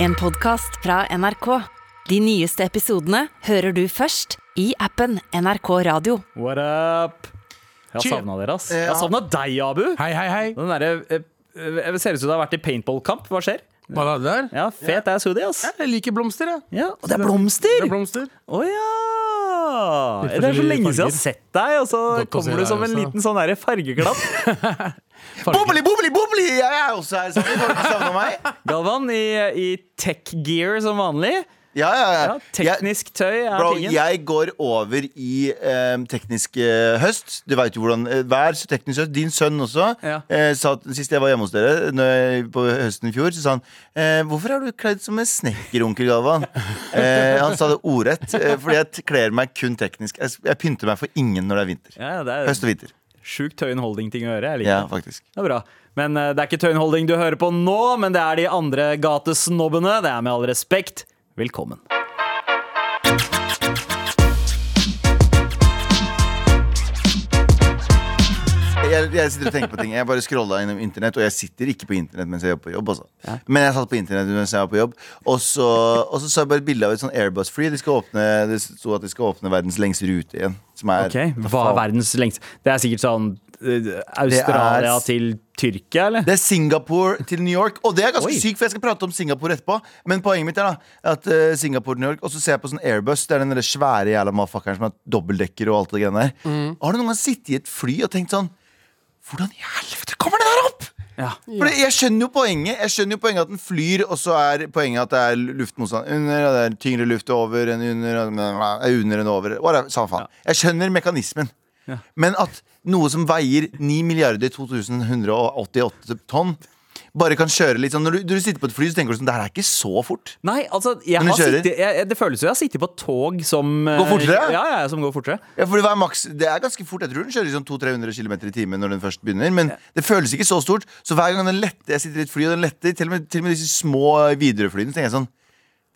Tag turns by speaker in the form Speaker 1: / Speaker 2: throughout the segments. Speaker 1: En podcast fra NRK. De nyeste episodene hører du først i appen NRK Radio.
Speaker 2: What up? Jeg har savna dere, ass. Jeg har savna deg, Abu.
Speaker 3: Hei, hei, hei.
Speaker 2: Den derre, eh, eh, det ser ut som du har vært i paintballkamp. Hva skjer?
Speaker 3: Hva er det der?
Speaker 2: Ja, Fet ass hoodie, ass.
Speaker 3: Jeg liker blomster, jeg.
Speaker 2: Ja, og det er blomster!
Speaker 3: Det
Speaker 2: Å
Speaker 3: er blomster.
Speaker 2: ja!
Speaker 3: Litt
Speaker 2: Det er så
Speaker 3: forskjellige
Speaker 2: lenge siden jeg har
Speaker 3: farger.
Speaker 2: sett deg, og så
Speaker 3: Godt å se
Speaker 2: kommer du
Speaker 3: deg
Speaker 2: som en
Speaker 3: også.
Speaker 2: liten sånn derre fargeklatt.
Speaker 4: Bobli, bobli, bobli! Jeg er også her. Så folk har ikke savnet meg.
Speaker 2: Galvan i, i tech gear som vanlig.
Speaker 4: Ja, ja, ja.
Speaker 2: Ja,
Speaker 4: Jeg,
Speaker 2: teknisk tøy er
Speaker 4: bro,
Speaker 2: tingen.
Speaker 4: jeg går over i eh, teknisk eh, høst. Du veit jo hvordan eh, Vær så teknisk høst. Din sønn også.
Speaker 2: Ja.
Speaker 4: eh, sa, at- sist jeg var hjemme hos dere når jeg, på høsten i fjor, så sa han eh, Hvorfor er du kledd som en snekker, onkel Galvan? eh, han sa det ordrett, eh, fordi jeg t- kler meg kun teknisk. Jeg, s- jeg pynter meg for ingen når det er vinter.
Speaker 2: Ja, ja, det er
Speaker 4: Høst og vinter.
Speaker 2: sjukt Tøyen Holding-ting å gjøre. Jeg liker
Speaker 4: Ja,
Speaker 2: det.
Speaker 4: faktisk.
Speaker 2: Det er bra. Men eh, det er ikke Tøyen Holding du hører på nå, men det er de andre gatesnobbene. Det er med all respekt. Velkommen.
Speaker 4: jeg, jeg sitter og tenker på ting. Jeg bare scrolla innom internett, og jeg sitter ikke på internett mens jeg jobber på jobb. Altså. Men jeg satt på internett mens jeg var på jobb, og så, og så så jeg bare et bilde av et sånn Airbus Free. De skal åpne, det sto at de skal åpne verdens lengste rute igjen. Som er
Speaker 2: Ok, Hva er verdens lengste Det er sikkert sånn eh, Australia
Speaker 4: Det er-
Speaker 2: til Tyrkia, eller?
Speaker 4: Det er Singapore til New York. Og det er ganske
Speaker 2: Oi.
Speaker 4: sykt, for jeg skal prate om Singapore etterpå. Men poenget mitt er da at eh, Singapore til New York, og så ser jeg på sånn Airbus. Det er den der svære jævla motherfuckeren som har dobbeltdekker og alt det greiene der.
Speaker 2: Mm.
Speaker 4: Har du noen gang sittet i et fly og tenkt sånn Hvordan i helvete kommer det der opp?
Speaker 2: Ja.
Speaker 4: For jeg skjønner jo poenget. Jeg skjønner jo poenget At den flyr, og så er poenget at det er luftmotstand under, og det er tyngre luft over enn under, og- under enn over. Whatever, Samme faen. Jeg skjønner mekanismen. Men at noe som veier 9 milliarder 2188 tonn, bare kan kjøre litt sånn Når du, når du sitter på et fly, så tenker du sånn Det her er ikke så fort.
Speaker 2: Nei, altså jeg
Speaker 4: Men
Speaker 2: har
Speaker 4: du kjører?
Speaker 2: sittet, jeg, jeg- Det føles jo jeg har sittet på et tog som eh,
Speaker 4: Går fortere?
Speaker 2: Ja, ja, som går fortere.
Speaker 4: Ja, for det, var maks, det er ganske fort. Jeg tror den kjører sånn 200-300 km i timen når den først begynner. Men det føles ikke så stort. Så hver gang den letter, jeg sitter i et fly og den letter, til og med, til og med disse små Widerøe-flyene, så tenker jeg sånn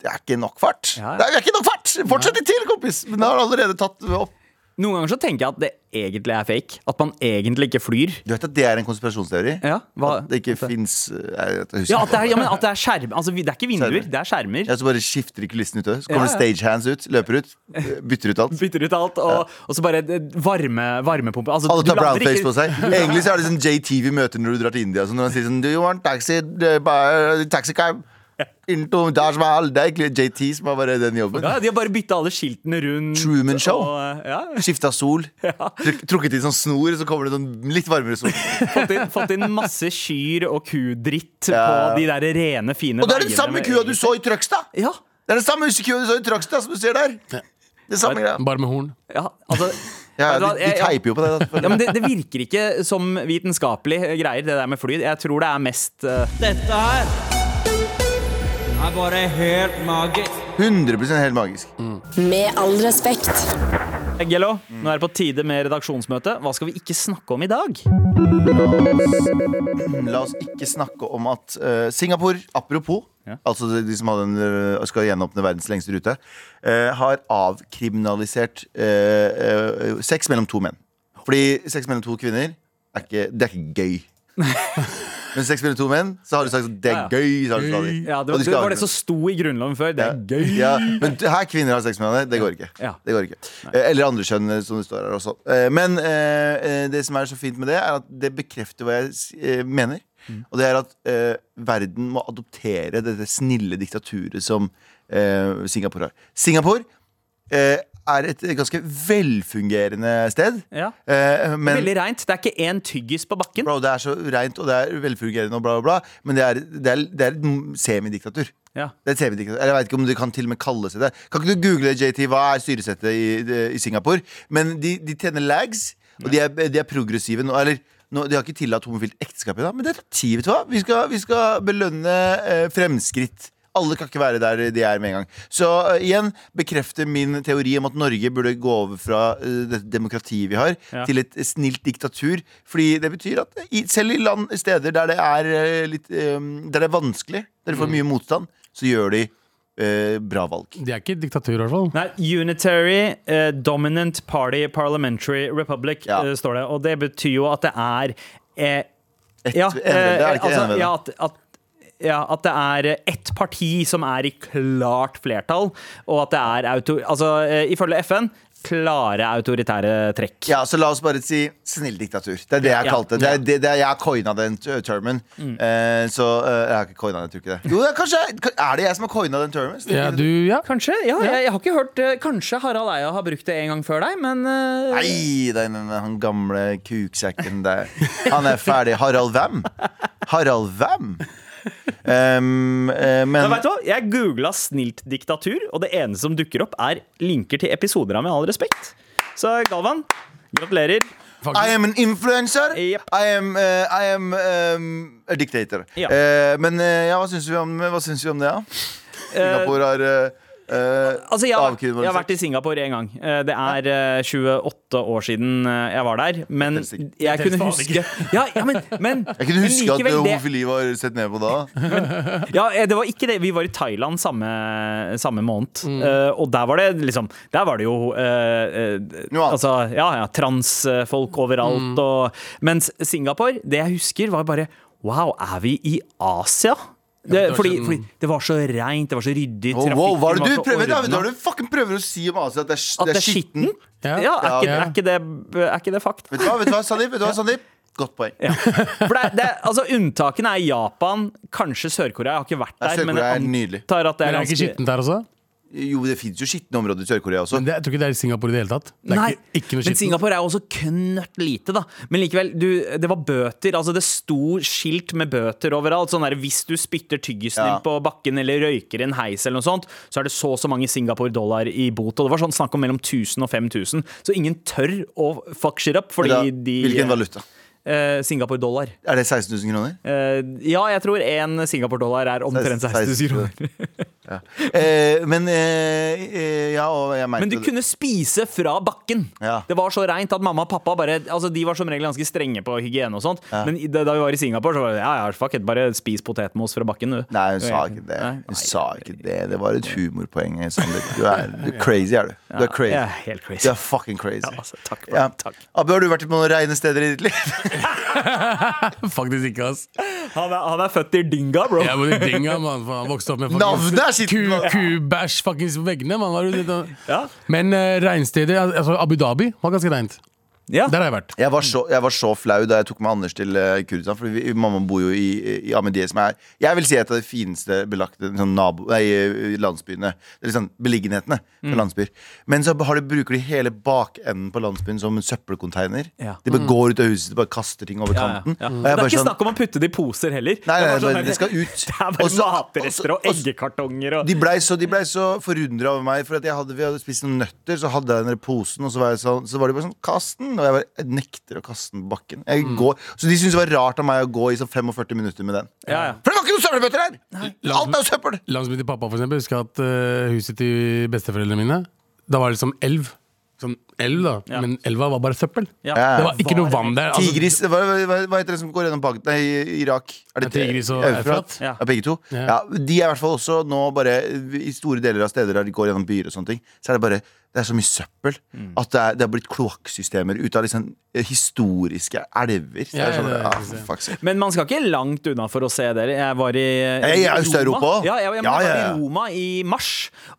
Speaker 4: Det er ikke nok fart.
Speaker 2: Ja, ja.
Speaker 4: Det er ikke nok fart! Fortsett litt til, kompis! Men det har allerede tatt opp.
Speaker 2: Noen ganger så tenker jeg at det egentlig er fake. At man egentlig ikke flyr.
Speaker 4: Du vet at det er en konspirasjonsteori?
Speaker 2: Ja, hva?
Speaker 4: At det ikke fins Jeg husker
Speaker 2: ja, at det er, ja
Speaker 4: ikke.
Speaker 2: men at det er skjerm Altså, vi- det er ikke vinduer,
Speaker 4: Skjermer.
Speaker 2: det er skjermer.
Speaker 4: Ja, så bare skifter de kulissene ute. Så kommer
Speaker 2: Ja, ja.
Speaker 4: det stagehands ut, løper ut, eh, bytter ut alt.
Speaker 2: Bytter ut alt, og, og så bare eh, varme, varmepumpe. Altså,
Speaker 4: Alle
Speaker 2: du
Speaker 4: tar
Speaker 2: lander
Speaker 4: brownface
Speaker 2: ikke-
Speaker 4: på seg. Egentlig så er det sånn JT vi møter når du drar til India. Så når han sier sånn Do you want taxi? Uh, by- Taxi cab? Into Taj Mahal. Det er egentlig JT som har bare den jobben.
Speaker 2: Ja, de har bare bytta alle skiltene rundt.
Speaker 4: Truman Show.
Speaker 2: Og, eh, ja,
Speaker 4: Skifta sol. Truk, trukket i sånn snor, så kommer det sånn litt varmere sol.
Speaker 2: fått, inn, fått inn masse kyr og kudritt
Speaker 4: Ja.
Speaker 2: på de der rene, fine
Speaker 4: Og det er den
Speaker 2: veiene
Speaker 4: samme
Speaker 2: med-
Speaker 4: kua du så i Trøgstad!
Speaker 2: Ja,
Speaker 4: Det er den samme kua du så i Trøgstad, som du ser der. Det er samme greia.
Speaker 3: Bare med horn.
Speaker 2: ja altså
Speaker 4: Ja,
Speaker 2: vet du hva,
Speaker 4: de, de
Speaker 2: jeg- jeg-
Speaker 4: teiper jo på det. Da.
Speaker 2: ja, men det, det virker ikke som vitenskapelig greier, det der med fly. Jeg tror det er mest eh,
Speaker 5: Dette her er bare helt magisk.
Speaker 4: 100 helt magisk.
Speaker 1: Med all respekt.
Speaker 2: Gello,
Speaker 4: Mm.
Speaker 2: nå er det på tide med redaksjonsmøte. Hva skal vi ikke snakke om i dag?
Speaker 4: Mm, La oss ikke snakke om at eh, Singapore, apropos
Speaker 2: Ja.
Speaker 4: Altså de, de som hadde en, eh, skal gjenåpne verdens lengste rute, eh, har avkriminalisert eh, eh, sex mellom to menn. Fordi sex mellom to kvinner er ikke, det er ikke gøy. Men sex mellom to menn, så har du sagt det er
Speaker 2: Ja,
Speaker 4: gøy. Så har du stadig.
Speaker 2: Ja, det,
Speaker 4: Og
Speaker 2: var-
Speaker 4: de
Speaker 2: det var det
Speaker 4: skal avkriminalisere.
Speaker 2: som sto i Grunnloven før. Det er gøy.
Speaker 4: Ja, men her kvinner har sex med hverandre. Det går ikke.
Speaker 2: Ja.
Speaker 4: Det går ikke. Eh, Eller andre kjønn, eh, som det står her også. Eh, Men eh, eh, det som er så fint med det, er at det bekrefter hva jeg s- eh, mener.
Speaker 2: Mm.
Speaker 4: Og det er at eh, verden må adoptere dette snille diktaturet som eh, Singapore har. Singapore eh, er et ganske velfungerende sted.
Speaker 2: Ja.
Speaker 4: Eh, men
Speaker 2: Veldig reint. Det er ikke én tyggis på bakken.
Speaker 4: bro, det er så reint og det er velfungerende og bla, bla, bla. Men det er, det er, det er et semidiktatur.
Speaker 2: Ja.
Speaker 4: Det er et semidiktatur. Eller jeg vet ikke om det kan til og med kalle seg det. Kan ikke du google JT, hva er styresettet i, i Singapore? Men de, de tjener lags, og de er, de er progressive nå. Eller nå, de har ikke tillatt homofilt ekteskap i dag, men det er ti, vet du hva. Vi skal, vi skal belønne eh, fremskritt. Alle kan ikke være der de er med en gang. Så eh, igjen bekrefter min teori om at Norge burde gå over fra eh, det demokratiet vi har,
Speaker 2: Ja.
Speaker 4: til et snilt diktatur. Fordi det betyr at i, selv i land, steder der det er eh, litt eh, Der det er vanskelig, der de får mye motstand, så gjør de eh, bra valg.
Speaker 3: De er ikke diktatur, i hvert fall.
Speaker 2: Nei, Unitary eh, Dominant Party Parliamentary Republic
Speaker 4: Ja.
Speaker 2: eh, står det. Og det betyr jo at det er eh,
Speaker 4: Et
Speaker 2: ja,
Speaker 4: enevelde, er det
Speaker 2: eh,
Speaker 4: ikke
Speaker 2: altså,
Speaker 4: enevelde?
Speaker 2: ja, at, at ja, at det er ett parti som er i klart flertall, og at det er auto... Altså, eh, ifølge FN klare autoritære trekk.
Speaker 4: Ja, så la oss bare si snilldiktatur. Det er det jeg
Speaker 2: Ja. Mm.
Speaker 4: kalte det. Er, det, det er, jeg har coina den t- termen. Eh, så eh, jeg har ikke coina den, jeg tror ikke det. Jo, det er kanskje Er det jeg som har coina den termen?
Speaker 3: Ja, du, ja.
Speaker 2: Kanskje. ja, Jeg, jeg har ikke hørt eh, Kanskje Harald Eia har brukt det en gang før deg, men eh,
Speaker 4: Nei, nei, nei, nei, han gamle kuksekken der. Han er ferdig. Harald Hvem? Harald Hvem? Um, eh,
Speaker 2: Men
Speaker 4: men
Speaker 2: vet du hva? Jeg googla 'snilt diktatur', og det eneste som dukker opp, er linker til episoder av Med all respekt. Så Galvan, gratulerer.
Speaker 4: I am an influencer.
Speaker 2: Yep.
Speaker 4: I am, eh, I am um, a dictator.
Speaker 2: Ja.
Speaker 4: Eh, men eh, ja, hva syns vi, om- hva syns vi om det, da? Singapore har eh, eh,
Speaker 2: Altså, jeg, har- jeg har
Speaker 4: avkriminalisert.
Speaker 2: vært i Singapore én gang. Eh, Det er eh, 28 år siden eh, jeg var der. Men
Speaker 4: Det er sikkert-
Speaker 2: jeg
Speaker 3: det er
Speaker 2: kunne
Speaker 3: faen ikke.
Speaker 2: huske Ja, ja men, men
Speaker 4: Jeg kunne
Speaker 2: men
Speaker 4: huske
Speaker 2: likevel,
Speaker 4: at
Speaker 2: det-
Speaker 4: homofili var sett ned på da.
Speaker 2: Ja, eh, det var ikke det. Vi var i Thailand samme, samme måned.
Speaker 3: Mm.
Speaker 2: Eh, og der var det liksom Der var det jo eh, eh,
Speaker 4: Noe annet.
Speaker 2: Altså, ja, ja, transfolk overalt
Speaker 3: Mm.
Speaker 2: og Mens Singapore, det jeg husker, var bare Wow, er vi i Asia? Det,
Speaker 3: var
Speaker 2: fordi,
Speaker 3: sånn-
Speaker 2: fordi det var så reint, det var så ryddig.
Speaker 4: Oh, wow, hva er det
Speaker 2: var
Speaker 4: du
Speaker 2: så
Speaker 4: prøver, David?
Speaker 2: ordnet.
Speaker 4: Hva er det du fucking prøver å si om Asia? At det er,
Speaker 2: At
Speaker 4: det er skitten?
Speaker 3: Ja.
Speaker 2: Ja, er ikke,
Speaker 3: Ja.
Speaker 2: er ikke, det, er ikke det fakta?
Speaker 4: Vet du hva, vet du hva, Sandeep? Vet du hva, Sandeep? Godt
Speaker 2: For
Speaker 4: poeng.
Speaker 2: det, er- det, er- altså, unntakene er Japan, kanskje Sør-Korea. Jeg har ikke vært
Speaker 4: Ja,
Speaker 2: der. men
Speaker 4: Sør-Korea er
Speaker 2: jeg
Speaker 4: nydelig.
Speaker 2: antar at det er
Speaker 3: Men er det ikke
Speaker 2: ganske-
Speaker 3: skittent der også?
Speaker 4: Jo, det fins jo skitne områder i Sør-Korea også.
Speaker 3: Men det, jeg tror ikke det er i Singapore i det hele tatt. Det er
Speaker 2: Nei,
Speaker 3: ikke, ikke noe
Speaker 2: men
Speaker 3: skittent.
Speaker 2: Singapore er jo også knøtt lite, da. Men likevel, du, det var bøter. Altså, det sto skilt med bøter overalt. Sånn der, hvis du spytter tyggisen
Speaker 4: Ja.
Speaker 2: din på bakken eller røyker i en heis eller noe sånt, så er det så og så mange Singapore-dollar i bot. Og det var sånn snakk om mellom 1000 og 5000. Så ingen tør å fuck shit up, fordi
Speaker 4: Da,
Speaker 2: de
Speaker 4: hvilken valuta?
Speaker 2: Eh, Singapore-dollar.
Speaker 4: Er det 16 000 kroner?
Speaker 2: Eh, ja, jeg tror én Singapore-dollar er omtrent 16 000 kroner.
Speaker 4: Ja. Eh, men eh, eh, Ja, og jeg
Speaker 2: Men du
Speaker 4: merket det.
Speaker 2: kunne spise fra bakken.
Speaker 4: Ja.
Speaker 2: Det var så reint at mamma og pappa bare Altså de var som regel ganske strenge på hygiene og sånt. Men i- da vi var i Singapore, så var det ja, ja, fuck it, bare spis potetmos fra bakken, du.
Speaker 4: Nei, hun sa ikke det.
Speaker 2: Nei,
Speaker 4: Hun
Speaker 2: nei.
Speaker 4: sa ikke det. Det var et humorpoeng. Sandeep. Du er du er crazy, er du. Du er crazy.
Speaker 2: jeg er helt crazy.
Speaker 4: Du er fucking crazy.
Speaker 2: Ja, altså, takk for
Speaker 4: Ja.
Speaker 2: det. Takk.
Speaker 4: Abu, har du vært på noen reine steder i ditt liv?
Speaker 3: Faktisk ikke, ass.
Speaker 2: Han, er, han er født i dynga, bro.
Speaker 3: Jeg bodde i Dinga, mann. faen, Han vokste opp med fucking-
Speaker 4: Navnet er skittent, mann.
Speaker 3: Ku- Kubæsj fuckings på veggene, mann. Hva er det du-
Speaker 2: Ja.
Speaker 3: Men eh, regnsteder al- altså Abu Dhabi var ganske reint.
Speaker 2: Ja.
Speaker 3: Der har jeg vært.
Speaker 4: Jeg var, så, jeg var så flau da jeg tok med Anders til eh, Kurdistan. For vi, mamma bor jo i, i Ahmedie, som er Jeg vil si et av de fineste belagte sånn nabo, nei, eh, landsbyene. Eller sånn beliggenhetene
Speaker 2: Mm.
Speaker 4: for landsbyer. Men så har de, bruker de hele bakenden på landsbyen som en søppelcontainer.
Speaker 2: Ja. Mm.
Speaker 4: De bare går ut av huset og bare kaster ting over
Speaker 2: Ja, ja,
Speaker 4: kanten.
Speaker 2: ja. Det
Speaker 4: Og jeg
Speaker 2: er
Speaker 4: bare
Speaker 2: ikke
Speaker 4: sånn-
Speaker 2: snakk om å putte det i poser heller.
Speaker 4: Nei,
Speaker 2: Det
Speaker 4: nei,
Speaker 2: er bare sånn
Speaker 4: nei, det skal ut.
Speaker 2: Det er
Speaker 4: Og
Speaker 2: bare
Speaker 4: så-
Speaker 2: matrester og
Speaker 4: og så-
Speaker 2: eggekartonger og
Speaker 4: De blei så, de ble så forundra over meg, for at jeg hadde, vi hadde spist noen nøtter. Så hadde jeg den der posen, og så var, jeg sånn, så var de bare sånn Kast den! Og jeg, bare, jeg nekter å kaste den på bakken. Jeg går, så de syntes det var rart av meg å gå i sånn 45 minutter med den.
Speaker 2: Ja, ja.
Speaker 4: For det var ikke noen søppelbøtter her! Alt er jo søppel!
Speaker 3: Landsbyen til pappa, for eksempel. Husker jeg at eh, huset til besteforeldrene mine Da var det liksom elv. Sånn elv, da. Men elva var bare søppel.
Speaker 2: Ja.
Speaker 4: Ja.
Speaker 3: Det var ikke noe vann der. altså.
Speaker 4: Tigris hva, hva, hva heter det som går gjennom Pakistan? Nei, Irak. Er
Speaker 3: Ja, Tigris og Eufrat.
Speaker 4: Ja.
Speaker 2: Ja.
Speaker 4: begge to. Ja.
Speaker 3: Ja.
Speaker 4: de er i hvert fall også nå bare I store deler av steder der de går gjennom byer og sånne ting, så er det bare det er så mye søppel
Speaker 2: Mm.
Speaker 4: at det er, det er blitt kloakksystemer ut av liksom eh, historiske elver. Så det
Speaker 3: Ja,
Speaker 4: er
Speaker 3: ja,
Speaker 4: sånn,
Speaker 3: det er
Speaker 4: ja,
Speaker 3: det.
Speaker 4: fuck sake.
Speaker 2: Men man skal ikke langt unna for å se det. Jeg var i
Speaker 4: Jeg er i
Speaker 2: Roma.
Speaker 4: Øst-Europa.
Speaker 2: Ja, jeg, jeg, jeg
Speaker 4: Ja, ja,
Speaker 2: var
Speaker 4: ja.
Speaker 2: i Roma i mars,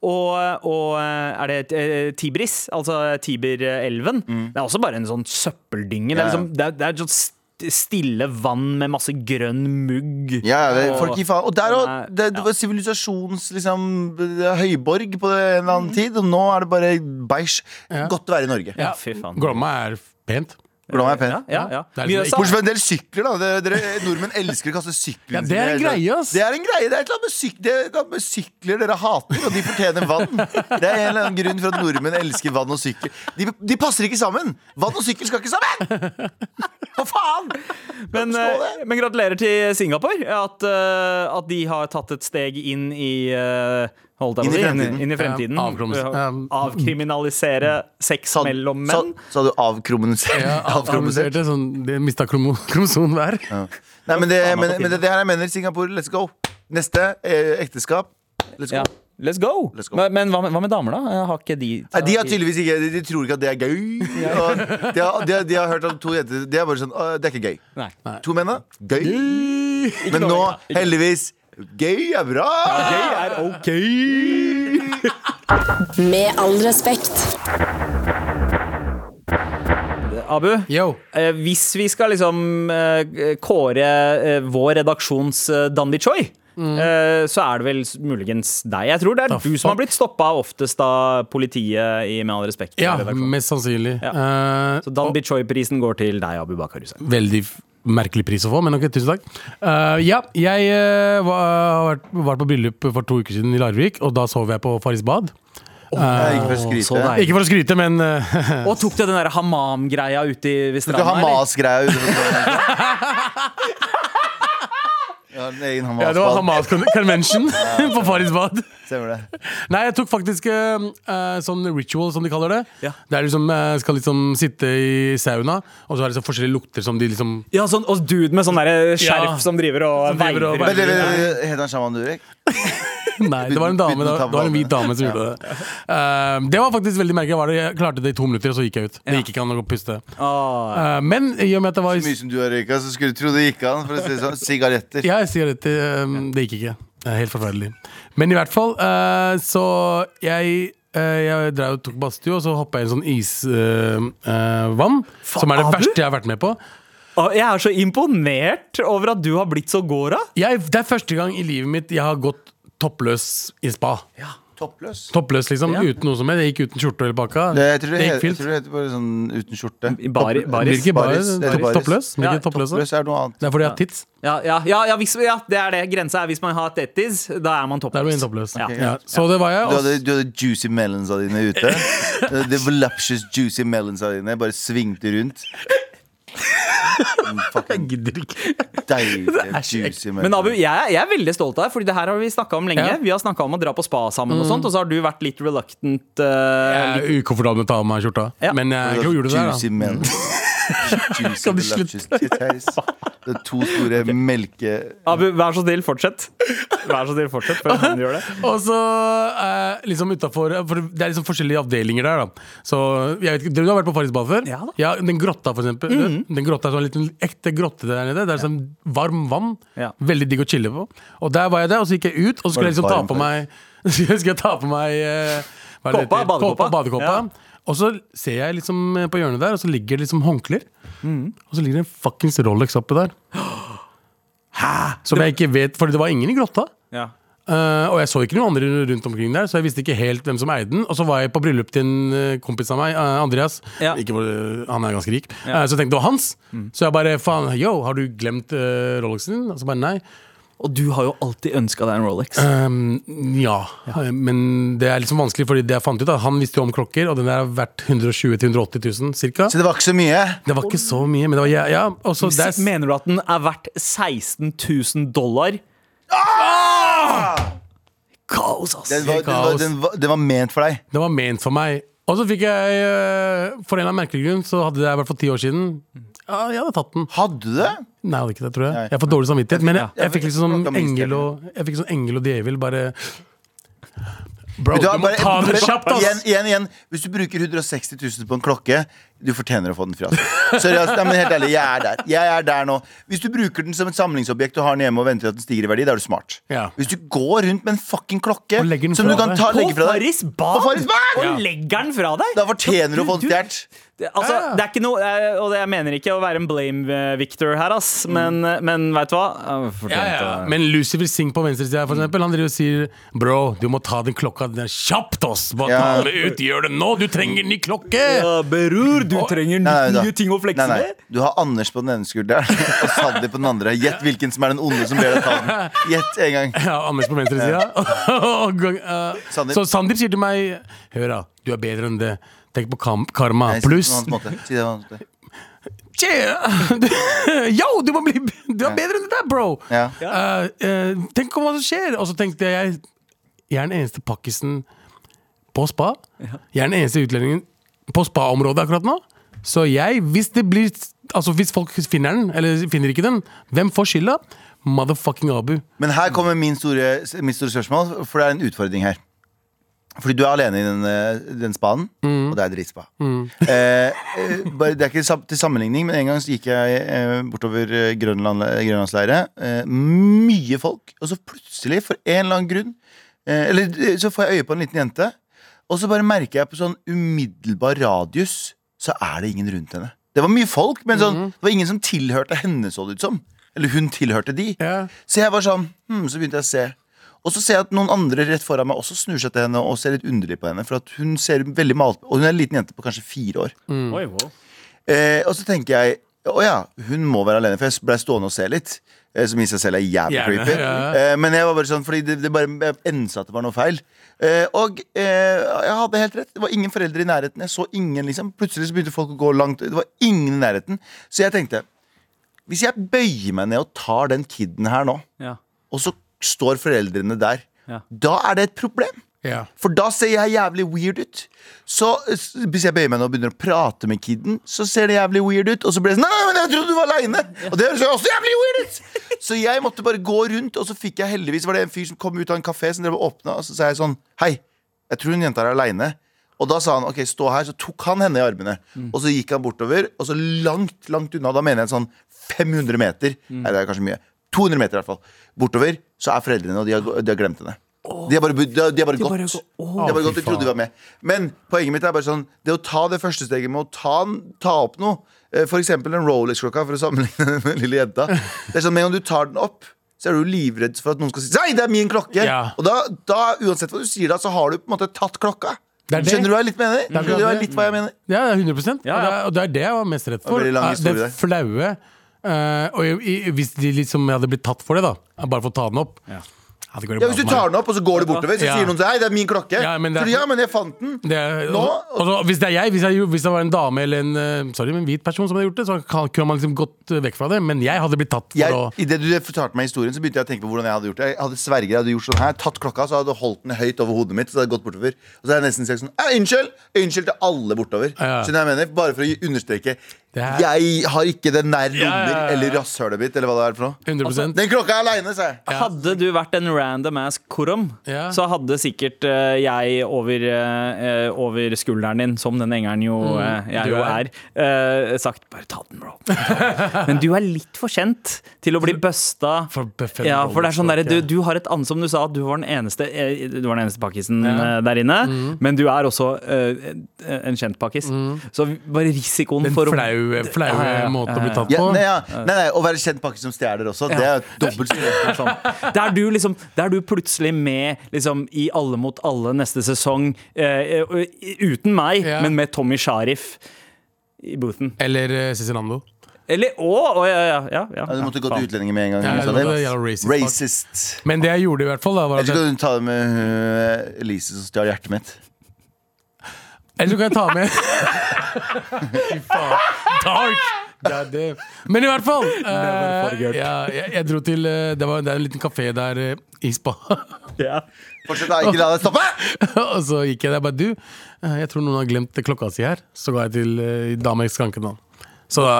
Speaker 2: og, og er det eh, Tibris, altså Tiberelven. Det er også bare en sånn søppeldynge. Det er,
Speaker 4: Mm. Ja, ja.
Speaker 2: liksom, det er, det er sånn st- stille vann med masse grønn mugg.
Speaker 4: Ja, ja, det, folk gir faen. Og der òg.
Speaker 2: Nei,
Speaker 4: Det, det var sivilisasjons liksom, det er høyborg på en eller annen tid, og nå er det bare bæsj.
Speaker 3: Mm. Ja.
Speaker 4: Godt å være i Norge.
Speaker 3: Ja,
Speaker 2: fy faen.
Speaker 3: Glomma er pent.
Speaker 4: Hvordan er jeg pen?
Speaker 2: Ja, ja, ja.
Speaker 3: Det er liksom
Speaker 2: Mjøsa.
Speaker 3: ikke-
Speaker 4: Bortsett fra en del sykler, da. Dere, dere, nordmenn elsker å kaste sykler.
Speaker 3: Ja, det er en greie, ass.
Speaker 4: Det er en greie. Det er et eller annet med, syk, det er et eller annet med sykler dere hater, og de fortjener vann. Det er en eller annen grunn for at nordmenn elsker vann og sykkel. De, de passer ikke sammen! Vann og sykkel skal ikke sammen! Hva faen?
Speaker 2: Men,
Speaker 4: forstå
Speaker 2: eh, men gratulerer til Singapore. At, eh, at de har tatt et steg inn i eh, holdt jeg på å
Speaker 4: Inn
Speaker 2: si,
Speaker 4: i fremtiden. Um,
Speaker 2: Inn i fremtiden.
Speaker 3: Ja, avkromis- ja.
Speaker 2: Avkriminalisere sex
Speaker 4: Sa-
Speaker 2: mellom
Speaker 4: sa-
Speaker 2: menn.
Speaker 4: Sa du avkromonisert?
Speaker 3: Ja,
Speaker 4: Avkromonisert.
Speaker 3: avkromoniserte, sånn, de mista kromo- kromosom hver.
Speaker 4: Nei, men det,
Speaker 2: Faen,
Speaker 4: men,
Speaker 2: hva
Speaker 4: men det, det her jeg mener. Singapore, let's go. Neste eh, ekteskap. Let's go.
Speaker 2: Ja. Let's go!
Speaker 4: Let's go.
Speaker 2: Men, men hva, med, hva med damer, da? Har ikke de
Speaker 4: Nei, de har tydeligvis ikke De, de tror ikke at det er gøy. Og de, har, de, har, de har hørt at to jenter De er bare sånn «Å, Det er ikke gøy.
Speaker 2: Nei.
Speaker 4: To menn, da? Gøy. Men nå,
Speaker 2: dårlig, da. Ikke
Speaker 4: heldigvis Gøy er bra!
Speaker 2: Gøy er OK!
Speaker 6: Med all respekt.
Speaker 2: Abu,
Speaker 3: Yo.
Speaker 2: eh, hvis vi skal liksom eh, kåre eh, vår redaksjons eh, Dandy Choi,
Speaker 3: Mm.
Speaker 2: eh, så er det vel s- muligens deg. Jeg tror det er
Speaker 3: Da
Speaker 2: du som har
Speaker 3: fuck.
Speaker 2: blitt stoppa oftest av politiet, i Med all respekt.
Speaker 3: Ja,
Speaker 2: redaksjonen.
Speaker 3: mest sannsynlig. Eh,
Speaker 2: Så Dan Bichoy-prisen går til deg, Abu Bakar Hussein.
Speaker 3: Veldig f- merkelig pris å få, men ok, tusen takk. Eh, ja, jeg eh, var, har vært, var på bryllup for to uker siden i Larvik, og da sov jeg på Farris bad.
Speaker 4: Jeg gikk for å
Speaker 2: så
Speaker 4: skryte.
Speaker 2: deilig.
Speaker 3: Ikke for å skryte, men eh,
Speaker 2: Og tok du den der hamam-greia ute i ved
Speaker 4: Skal ikke
Speaker 2: stranda?
Speaker 4: ha
Speaker 2: eller?
Speaker 4: Hamas-greia ute på Ja, en egen
Speaker 3: ja, det var
Speaker 4: Hamas-ball.
Speaker 3: Hamas con- convention på Farris bad.
Speaker 4: Stemmer det.
Speaker 3: Nei, jeg tok faktisk eh, eh, sånn ritual, som de kaller det.
Speaker 2: Ja.
Speaker 3: Der du liksom, eh, skal liksom sitte i sauna, og så er det så forskjellige lukter som de liksom
Speaker 2: Ja, sånn, og dude med sånn der skjerf
Speaker 3: Ja.
Speaker 2: som driver og
Speaker 3: Som driver og
Speaker 2: veiver.
Speaker 4: Men,
Speaker 3: veiver.
Speaker 2: rundt.
Speaker 4: det- det- det- Heter han Shaman Durek?
Speaker 3: Nei, det var en dame,
Speaker 4: Bytte
Speaker 3: det
Speaker 4: tavle.
Speaker 3: var en hvit dame som gjorde det. Eh, det var faktisk veldig merkelig. Jeg, var det. jeg klarte det i to minutter, og så gikk jeg ut. Det gikk ikke an å gå og puste.
Speaker 2: Ah.
Speaker 3: Eh, men i og med at det var
Speaker 4: Så mye som du har røyka, så skulle du tro det gikk an. For å si det sånn. Sigaretter.
Speaker 3: Ja, jeg sier dette. ehm, Det gikk ikke. Det er helt forferdelig. Men i hvert fall, eh, så jeg eh, jeg drev og tok badstue, og så hoppa jeg i en sånn isvann. som er det
Speaker 2: Abu?
Speaker 3: verste jeg har vært med på.
Speaker 2: Ah, Jeg er så imponert over at du har blitt så gåra.
Speaker 3: Jeg, det er første gang i livet mitt jeg har gått toppløs i spa.
Speaker 4: Toppløs.
Speaker 3: Toppløs, liksom.
Speaker 2: Ja.
Speaker 3: Uten noe som helst. Jeg gikk uten skjorte eller pakka.
Speaker 4: Det, jeg tror det,
Speaker 3: gikk
Speaker 4: heter, jeg
Speaker 3: fint.
Speaker 4: tror det heter bare sånn uten skjorte.
Speaker 2: Bar, baris.
Speaker 3: Hvilke baris?
Speaker 4: Baris. Det heter baris.
Speaker 3: Toppløs? Hvilke
Speaker 2: Ja,
Speaker 3: toppløse?
Speaker 4: Toppløs er noe annet.
Speaker 3: Det er fordi jeg har tits.
Speaker 2: Ja, ja, ja, ja, hvis, ja, det er det. Grensa er hvis man har tettis, da er man
Speaker 3: Da er du
Speaker 2: toppløs.
Speaker 3: en toppløs.
Speaker 2: Ja.
Speaker 3: Ja. Så det var jeg.
Speaker 4: Du
Speaker 3: og-
Speaker 4: hadde, du hadde juicy melonsa dine ute. The voluptuous juicy melonsa dine bare svingte rundt. Mm, Fucking deilige juicy melons.
Speaker 2: Men Abu, jeg, jeg er veldig stolt av deg, Fordi det her har vi snakka om lenge.
Speaker 3: Ja. Mm.
Speaker 2: Vi har snakka om å dra på spa sammen, og sånt Og så har du vært litt reluctant.
Speaker 3: Jeg
Speaker 2: eh,
Speaker 3: er ukomfortabel med å ta av meg skjorta,
Speaker 2: Ja.
Speaker 3: men jeg
Speaker 4: Du
Speaker 3: jeg
Speaker 4: hadde
Speaker 3: gjorde det der. da.
Speaker 4: Juicy melons. Juicy
Speaker 3: Kan du
Speaker 4: voluptuous titties. Det er to store melke...
Speaker 2: Abu, vær så snill, fortsett. Vær så snill, fortsett før han gjør det.
Speaker 3: Og så eh, liksom utenfor For det er liksom forskjellige avdelinger der, da. Så jeg vet ikke Dere har vært på Farris bad før?
Speaker 2: Ja da.
Speaker 3: Den grotta, for eksempel. Den grotta er sånn liten ekte grotte der nede. Det er sånn varm vann.
Speaker 2: Ja.
Speaker 3: Veldig digg å chille på. Og der var jeg der, og så gikk jeg ut, og så skulle jeg
Speaker 4: det
Speaker 3: liksom ta
Speaker 4: varm
Speaker 3: på meg Skulle jeg ta på meg eh, hva er det det
Speaker 2: Kåpa,
Speaker 3: heter?
Speaker 2: badekåpa.
Speaker 3: Kåpa, badekåpa.
Speaker 2: Ja.
Speaker 3: Og så ser jeg liksom eh, på hjørnet der, og så ligger det liksom håndklær. Og så ligger det en fuckings Rolex oppi der. Hæ? Som jeg ikke vet, for det var ingen i grotta.
Speaker 2: Ja.
Speaker 3: Eh, og jeg så ikke noen andre rundt omkring der, så jeg visste ikke helt hvem som eide den. Og så var jeg på bryllup til en eh, kompis av meg, eh, Andreas.
Speaker 2: Ja.
Speaker 3: Ikke, hvor- han er ganske rik. Eh, så jeg tenkte det var hans. Så jeg bare faen, yo, har du glemt eh, Rolexen din? Og så bare nei.
Speaker 2: Og du har jo alltid ønska deg en Rolex.
Speaker 3: Ehm, ja. Eh, men det er liksom vanskelig, Fordi det jeg fant ut, da, han visste jo om klokker, og den der er verdt 120 000-180 000 cirka.
Speaker 4: Så det var ikke så mye.
Speaker 3: Det var ikke så mye, men det var ja, ja. Og så det er,
Speaker 2: Mener du at den er verdt 16 000 dollar? Kaos, ass!
Speaker 4: Den var, den var, den var, den var ment for deg.
Speaker 3: Det var ment for meg. Og så fikk jeg, eh, for en eller annen merkelig grunn, så hadde jeg vært for ti år siden Ja, jeg hadde tatt den.
Speaker 4: Hadde du det?
Speaker 3: Nei, jeg hadde ikke det, tror jeg.
Speaker 4: Nei.
Speaker 3: Jeg får dårlig samvittighet. Men jeg,
Speaker 4: Ja.
Speaker 3: jeg fikk liksom
Speaker 4: Klokka
Speaker 3: sånn
Speaker 4: mi
Speaker 3: engel
Speaker 4: steller.
Speaker 3: og, jeg fikk sånn engel og djevel bare Bro,
Speaker 4: Vet
Speaker 3: du
Speaker 4: hva,
Speaker 3: må
Speaker 4: bare-
Speaker 3: ta det kjapt,
Speaker 4: Igjen,
Speaker 3: ass!
Speaker 4: igjen, igjen. Hvis du bruker 160 000 på en klokke, du fortjener å få den fra deg. Sorry, ass. Nei, men helt ærlig, jeg er der. Jeg er der nå. Hvis du bruker den som et samlingsobjekt og har den hjemme og venter at den stiger i verdi, da er du smart.
Speaker 3: Ja.
Speaker 4: Hvis du går rundt med en fucking klokke
Speaker 3: Og legger den
Speaker 4: som du
Speaker 3: fra
Speaker 4: kan
Speaker 3: deg.
Speaker 4: ta,
Speaker 2: På
Speaker 4: legge fra deg,
Speaker 2: Farris bad!
Speaker 4: På Farris bad!
Speaker 2: Og
Speaker 4: Ja.
Speaker 2: legger den fra deg!
Speaker 4: da fortjener du å få den stjålet.
Speaker 2: Det- Altså, det er ikke noe eh, Og det- jeg mener ikke å være en blame eh, victor her, ass, men,
Speaker 4: Mm.
Speaker 2: eh, men veit du hva? Jeg fortjente
Speaker 3: Ja, ja.
Speaker 2: det.
Speaker 3: Men Lucifer Singh på venstresida, for eksempel, han driver og sier Bro, du må ta den klokka der kjapt, ass! Bare
Speaker 4: Ja.
Speaker 3: ta det ut! Gjør det nå! Du trenger ny klokke!
Speaker 2: Ja, Berur, du trenger
Speaker 4: Nei, nei, da.
Speaker 2: nye ting å flekse
Speaker 4: Nei, nei.
Speaker 2: med.
Speaker 4: Du har Anders på den ene skulderen og Sandi på den andre. Gjett hvilken som er den onde som ber deg ta den. Gjett en gang.
Speaker 3: Ja, Anders på venstresida. Og gang- eh,
Speaker 4: Sandeep.
Speaker 3: Så Sandeep sier til meg Hør, da. Du er bedre enn det. Tenk på kam karma.
Speaker 4: Nei, si det på
Speaker 3: Pluss
Speaker 4: en annen måte. Si det på en annen måte.
Speaker 3: Tje- du- Yo, du må bli Du er bedre enn det der, bro!
Speaker 4: Ja.
Speaker 3: Eh, eh, tenk om hva som skjer! Og så tenkte jeg Jeg er den eneste pakkisen på spa. Jeg er den eneste utlendingen på spa-området akkurat nå. Så jeg, hvis det blir Altså hvis folk finner den, eller finner ikke den, hvem får skylda? Motherfucking Abu.
Speaker 4: Men her kommer min store, mitt store spørsmål, for det er en utfordring her. Fordi du er alene i den, eh, den spanen, og og det er dritbra. Eh, eh, bare, det er ikke sam- til sammenligning, men en gang så gikk jeg eh, bortover eh, Grønland, eh, Grønlandsleire. Eh, mye folk, og så plutselig, for en eller annen grunn, eh, eller eh, så får jeg øye på en liten jente. Og så bare merker jeg på sånn umiddelbar radius, så er det ingen rundt henne. Det var mye folk, men sånn, det var ingen som tilhørte henne, så det ut som. Eller hun tilhørte de.
Speaker 3: Ja.
Speaker 4: Så jeg var sånn, hmm, så begynte jeg å se Og så ser jeg at noen andre rett foran meg også snur seg til henne Og ser litt underlig på henne For at hun ser veldig malt Og hun er en liten jente på kanskje fire år
Speaker 2: Oi, wow.
Speaker 4: eh, Og så tenker jeg, åja, hun må være alene For jeg ble stående og se litt eh, Som i seg selv er jævlig
Speaker 3: Gjerne,
Speaker 4: creepy
Speaker 3: ja.
Speaker 4: eh, Men jeg var bare sånn, fordi det, det bare jeg ensa at det var noe feil eh, Og eh, jeg hadde helt rett Det var ingen foreldre i nærheten Jeg så ingen liksom Plutselig så begynte folk å gå langt Det var ingen i nærheten Så jeg tenkte Hvis jeg bøyer meg ned og tar den kidden her nå
Speaker 2: Ja.
Speaker 4: og så står foreldrene der.
Speaker 2: Ja.
Speaker 4: Da er det et problem.
Speaker 3: Ja.
Speaker 4: For da ser jeg jævlig weird ut. Så eh, s- hvis jeg bøyer meg nå og begynner å prate med kiden, så ser det jævlig weird ut. Og så blir det sånn Nei, nei, men jeg trodde du var aleine! Og det høres jo også jævlig weird ut! Så jeg måtte bare gå rundt, og så fikk jeg heldigvis var det en fyr som kom ut av en kafé som drev og åpna, og så sa jeg sånn Hei, jeg tror hun jenta er aleine. Og da sa han ok, stå her, så tok han henne i armene. Og så gikk han bortover, og så langt, langt unna, da mener jeg sånn 500 meter, nei det er kanskje mye, 200 meter i hvert fall, bortover, så er foreldrene, og de har, de har glemt henne. De har bare, bu- de har, de har bare gått.
Speaker 2: bare gå- Åh,
Speaker 4: de har bare
Speaker 3: fy
Speaker 4: gått, de trodde de var med. Men poenget mitt er bare sånn, det å ta det første steget med å ta, en- ta opp noe, eh, for eksempel en Rolex-klokka, for å sammenligne den med lille jenta, det er sånn, med en gang du tar den opp, så er du livredd for at noen skal si, nei, det er min klokke!
Speaker 3: Ja.
Speaker 4: Og da, da, uansett hva du sier da, så har du på en måte tatt klokka.
Speaker 3: Det Mm. er det.
Speaker 4: Skjønner du hva jeg litt mener?
Speaker 3: er
Speaker 4: Skjønner du hva jeg
Speaker 3: det.
Speaker 4: litt hva jeg mener?
Speaker 3: Ja, det er 100
Speaker 2: Ja, ja.
Speaker 3: Og, det er, og det er det jeg var mest redd for.
Speaker 4: Det var veldig lang
Speaker 3: Eh,
Speaker 4: historie der.
Speaker 3: det flaue. eh, og jeg, i- hvis de liksom jeg hadde blitt tatt for det, da bare for å ta den opp Ja, det går jo
Speaker 4: Ja,
Speaker 3: bra
Speaker 4: Hvis du
Speaker 3: for meg.
Speaker 4: tar den opp, og så går du bortover, så
Speaker 3: Ja.
Speaker 4: sier noen sånn, hei, det er min klokke.
Speaker 3: Ja, men det er-
Speaker 4: Så, ja, men jeg fant den.
Speaker 3: det er,
Speaker 4: Nå-
Speaker 3: og, og, så- hvis det er jeg, hvis, jeg, hvis det var en dame eller en eh, Sorry, men en hvit person som hadde gjort det, så kan, kunne man liksom gått eh, vekk fra det. Men jeg hadde blitt tatt for
Speaker 4: Jeg,
Speaker 3: å
Speaker 4: I det du fortalte meg historien, så begynte jeg å tenke på hvordan jeg hadde gjort det. Jeg hadde sverget, jeg hadde gjort sånn her, tatt klokka, så hadde jeg holdt den høyt over hodet mitt, så hadde jeg gått bortover. Og så hadde jeg nesten sagt sånn, «Eh, unnskyld, unnskyld til alle bortover.
Speaker 3: Ja.
Speaker 4: Skjønner du hva jeg mener? Bare for å understreke,
Speaker 3: Det er-
Speaker 4: jeg har ikke den der
Speaker 3: ja,
Speaker 4: lommer,
Speaker 3: ja.
Speaker 4: eller rasshølet mitt, eller hva Altså, det er for noe.
Speaker 3: 100
Speaker 4: Den klokka er alene, sa jeg.
Speaker 2: Hadde du vært en random ass korom,
Speaker 3: Ja.
Speaker 2: så hadde sikkert eh, jeg over, eh, over skulderen din, som den engelen jo eh, jeg
Speaker 3: du
Speaker 2: jo
Speaker 3: er.
Speaker 2: er, eh, sagt 'bare ta den, bro'. Men du er litt for kjent til å bli busta.
Speaker 3: For buffen-
Speaker 2: ja, for det er sånn der, du,
Speaker 3: ja.
Speaker 2: du har et annet som du sa, du var den eneste, eh, du var den eneste pakkisen eh, der inne,
Speaker 3: Mhm.
Speaker 2: men du er også eh, en kjent pakkis. Så bare risikoen
Speaker 3: Den
Speaker 2: for å
Speaker 3: flaue, flaue
Speaker 2: Ja, ja, ja.
Speaker 3: måten å bli tatt
Speaker 4: Ja,
Speaker 3: på.
Speaker 4: nei, ja. nei, nei, Å være kjent pakke som stjeler også, det er dobbelt så mye.
Speaker 2: Sånn. Der du liksom Der du plutselig med liksom, i Alle mot alle neste sesong eh, eh, Uten meg,
Speaker 3: Ja.
Speaker 2: men med Tommy Sharif i boothen.
Speaker 3: Eller uh, Cezinando.
Speaker 2: Eller Å! å, ja, ja, ja, ja,
Speaker 4: Ja, Du måtte gå
Speaker 2: faen.
Speaker 4: til utlendinger med en gang.
Speaker 3: Ja,
Speaker 4: sa
Speaker 3: det
Speaker 4: det.
Speaker 3: var jævla racist, fuck.
Speaker 4: Racist.
Speaker 3: Men det jeg gjorde i hvert fall, da, var
Speaker 4: Jeg
Speaker 3: at
Speaker 4: tror
Speaker 3: jeg,
Speaker 4: ikke du ta det med øh, Elise som stjal hjertet mitt.
Speaker 3: Eller så kan jeg ta med Fy faen. Dark! God damn. Men i hvert fall eh, ja, jeg, jeg dro til eh, det, var, det er en liten kafé der eh, i spa.
Speaker 2: Ja.
Speaker 4: Fortsett da, ikke la deg stoppe!
Speaker 3: og så gikk jeg der bare Du, eh, jeg tror noen har glemt klokka si her. Så ga jeg til eh, dama i skranken. da. Så da,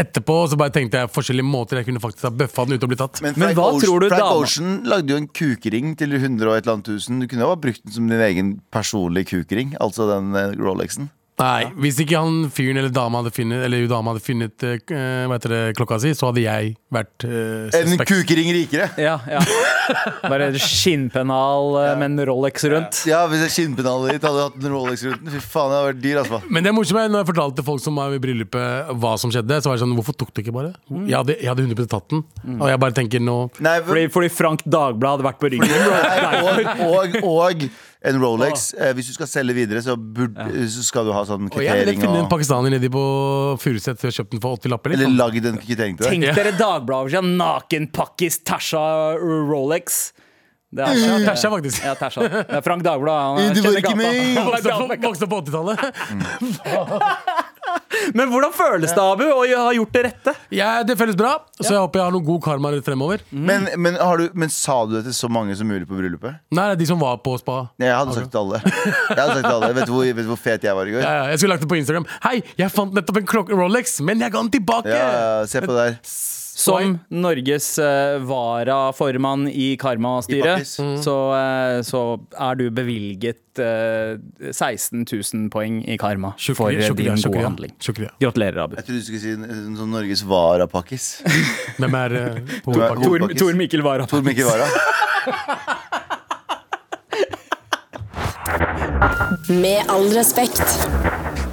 Speaker 3: etterpå så bare tenkte jeg forskjellige måter jeg kunne faktisk ha bøffa den uten å bli tatt.
Speaker 2: Men hva
Speaker 4: Ocean,
Speaker 2: tror du
Speaker 4: Frank
Speaker 2: dama-
Speaker 4: Ocean lagde jo en kukering til 100 og et eller annet tusen. Du kunne jo ha brukt den som din egen personlige kukering. Altså den eh, Rolexen.
Speaker 3: Nei, hvis ikke han fyren eller dama hadde funnet, eller hun dama hadde funnet eh, hva heter det, klokka si, så hadde jeg vært eh,
Speaker 4: En
Speaker 3: suspect.
Speaker 4: kukering rikere!
Speaker 2: Ja, ja. Bare skinnpennal eh, med en Rolex rundt.
Speaker 4: Ja, hvis jeg skinnpennalet ditt hadde hatt en Rolex rundt den. Fy faen, det hadde vært dyr, altså.
Speaker 3: Men det morsomme er når jeg fortalte folk som var i bryllupet hva som skjedde, så var det sånn Hvorfor tok du ikke bare? Jeg, hadde, jeg hadde 100 tatt den. Og jeg bare tenker nå
Speaker 4: Nei,
Speaker 2: Fordi, fordi Frank Dagblad hadde vært på ryggen.
Speaker 4: Nei, og, og, og en Rolex. Eh, hvis du skal selge videre, så, burde, så skal du ha sånn
Speaker 3: Og jeg ville
Speaker 4: kvittering
Speaker 3: funnet en
Speaker 4: og
Speaker 3: pakistaner nedi på Furuset og kjøpt den for 80 lapper.
Speaker 4: Eller
Speaker 3: Liksom.
Speaker 4: lagd en kvittering til deg.
Speaker 2: Tenk dere Dagbladet sin nakenpakkis Tasha Rolex. Det er
Speaker 3: Ja,
Speaker 2: Tasha.
Speaker 3: Tasha, faktisk.
Speaker 2: Ja, Tasha. Det er Frank Dagblad. han
Speaker 4: Du var
Speaker 2: kjenner gata.
Speaker 4: ikke med.
Speaker 2: Han var
Speaker 3: Vokste
Speaker 2: gammel.
Speaker 3: opp- Vokste opp på 80-tallet.
Speaker 2: Men hvordan føles det, Abu, å ha gjort det rette?
Speaker 3: Ja, det føles bra, så jeg håper jeg har noe god karma rett fremover.
Speaker 4: Men, men, har du, men sa du det til så mange som mulig på bryllupet?
Speaker 3: Nei, de som var på spa.
Speaker 4: Nei, Jeg hadde sagt til alle. Jeg hadde sagt til alle Vet du hvor, vet du hvor fet jeg var i går?
Speaker 3: Ja,
Speaker 4: Ja,
Speaker 3: ja, jeg skulle lagt det på Instagram. Hei, jeg fant nettopp en klokke Rolex, men jeg ga den tilbake!
Speaker 4: ja, se på det der.
Speaker 2: Som Norges eh, varaformann i
Speaker 4: I
Speaker 2: Karma-styret,
Speaker 4: Pakkis. Mm.
Speaker 2: så, eh, så er du bevilget eh, 16 000 poeng i Karma for eh, din gode handling.
Speaker 3: Shukriya.
Speaker 2: Gratulerer, Abu.
Speaker 4: Jeg trodde du skulle si en, en sånn Norges varapakkis.
Speaker 3: Hvem er eh,
Speaker 4: Du er-
Speaker 3: hovedpakken?
Speaker 2: Tor,
Speaker 4: Pakkis.
Speaker 2: Tor Mikkel Wara.
Speaker 4: Tor Mikkel Wara.
Speaker 6: Med all respekt.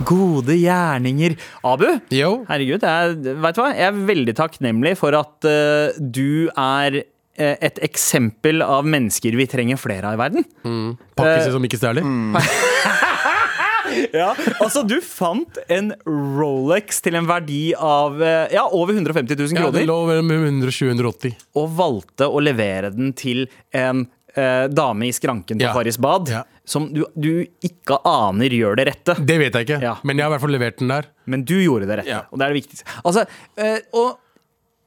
Speaker 2: Gode gjerninger. Abu,
Speaker 3: Yo.
Speaker 2: herregud, jeg, vet du hva? jeg er veldig takknemlig for at eh, du er eh, et eksempel av mennesker vi trenger flere av i verden.
Speaker 3: Mm. Pakkis som ikke stjeler?
Speaker 2: Ja, altså Du fant en Rolex til en verdi av eh, ja, over 150 000
Speaker 3: Ja, det
Speaker 2: kroner,
Speaker 3: lå mellom 120-180.
Speaker 2: og valgte å levere den til en eh, dame i skranken på
Speaker 3: Ja.
Speaker 2: Farris bad,
Speaker 3: Ja.
Speaker 2: som du, du ikke aner gjør det rette.
Speaker 3: Det vet jeg ikke,
Speaker 2: Ja.
Speaker 3: men jeg har i hvert fall levert den der.
Speaker 2: Men du gjorde det rette,
Speaker 3: Ja.
Speaker 2: og det er det viktigste. Altså, eh, og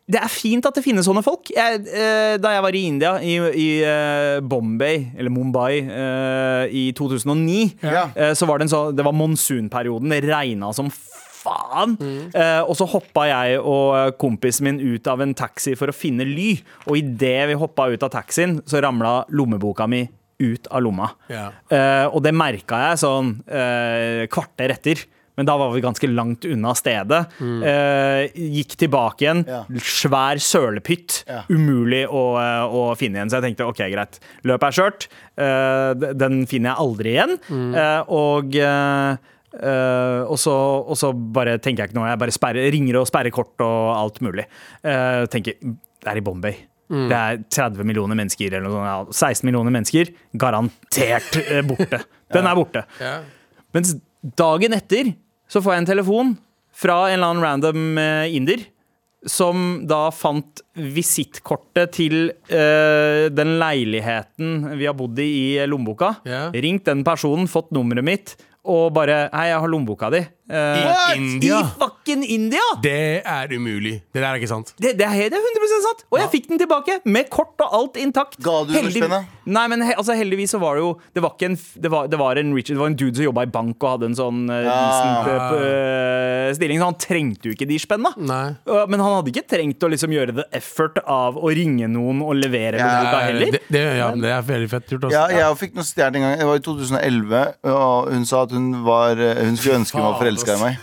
Speaker 2: det er fint at det finnes sånne folk. Jeg, eh, da jeg var i India, i, i eh, Bombay, eller Mumbai, eh, i 2009,
Speaker 4: Ja.
Speaker 2: eh, så var det en sånn Det var monsunperioden, det regna som faen. Eh, og så hoppa jeg og eh, kompisen min ut av en taxi for å finne ly, og idet vi hoppa ut av taxien, så ramla lommeboka mi ut av lomma.
Speaker 3: Ja.
Speaker 2: Eh, og det merka jeg sånn eh, kvarter etter. Men da var vi ganske langt unna stedet. Eh, gikk tilbake igjen.
Speaker 4: Ja.
Speaker 2: Svær sølepytt.
Speaker 4: Ja.
Speaker 2: Umulig å, eh, å finne igjen. Så jeg tenkte ok, greit. Løpet er skjørt. Eh, d- den finner jeg aldri igjen. Eh, og eh, eh, og, så, og så bare tenker jeg ikke noe. Jeg bare sperrer, ringer og sperrer kort og alt mulig. Eh, tenker det er i Bombay.
Speaker 3: Mm.
Speaker 2: Det er 30 millioner mennesker eller noe sånt. Ja, 16 millioner mennesker. Garantert eh, borte. Den er borte. Mens dagen etter så får jeg en telefon fra en eller annen random eh, inder. Som da fant visittkortet til eh, den leiligheten vi har bodd i i lommeboka.
Speaker 3: Ja.
Speaker 2: Ringt den personen, fått nummeret mitt, og bare Hei, jeg har lommeboka di. Eh,
Speaker 3: What? India?
Speaker 2: I fucking India!
Speaker 3: Det er umulig. Det der er ikke sant.
Speaker 2: Det, det er helt- det er 100 sant! Og jeg fikk den tilbake, med kort og alt intakt.
Speaker 4: Ga du
Speaker 2: Heldigvi-
Speaker 4: underspennet?
Speaker 2: Nei, men he, altså, heldigvis så var det jo Det var, ikke en, f- det var, det var en Richard, det var en dude som jobba i bank og hadde en sånn eh,
Speaker 4: Ja.
Speaker 2: decent eh, p- eh, stilling, så han trengte jo ikke de spenna.
Speaker 3: Nei.
Speaker 2: Eh, Men han hadde ikke trengt å liksom gjøre the effort av å ringe noen og levere
Speaker 4: Ja,
Speaker 2: boka heller.
Speaker 3: Det, det, ja, men det er veldig fett gjort.
Speaker 4: Ja,
Speaker 3: Altså.
Speaker 4: jeg fikk noe stjålet en gang. Det var i 2011. Og hun sa at hun, var, eh, hun skulle ønske hun var forelska i meg.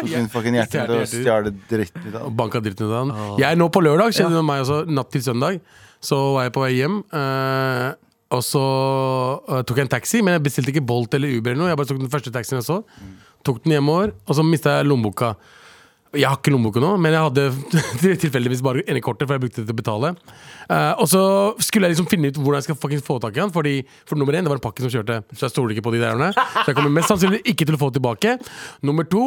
Speaker 4: Tok hun fucking hjerte til å stjele dritten ut av
Speaker 3: Og banka dritten ut av den. Jeg nå på lørdag, skjedde det meg også, natt til søndag, så var jeg på vei hjem. eh, og så eh, tok jeg en taxi, men jeg bestilte ikke Bolt eller Uber. eller noe Jeg bare tok den første taxien jeg så. Tok den hjemover, og så mista jeg lommeboka. Jeg har ikke lommeboka nå, men jeg hadde tilfeldigvis bare endekortet, for jeg brukte det til å betale. Eh, og så skulle jeg liksom finne ut hvordan jeg skal fucking få tak i han, fordi for nummer én, det var en pakke som kjørte, så jeg stoler ikke på de der. erne. Så jeg kommer mest sannsynlig ikke til å få det tilbake. Nummer to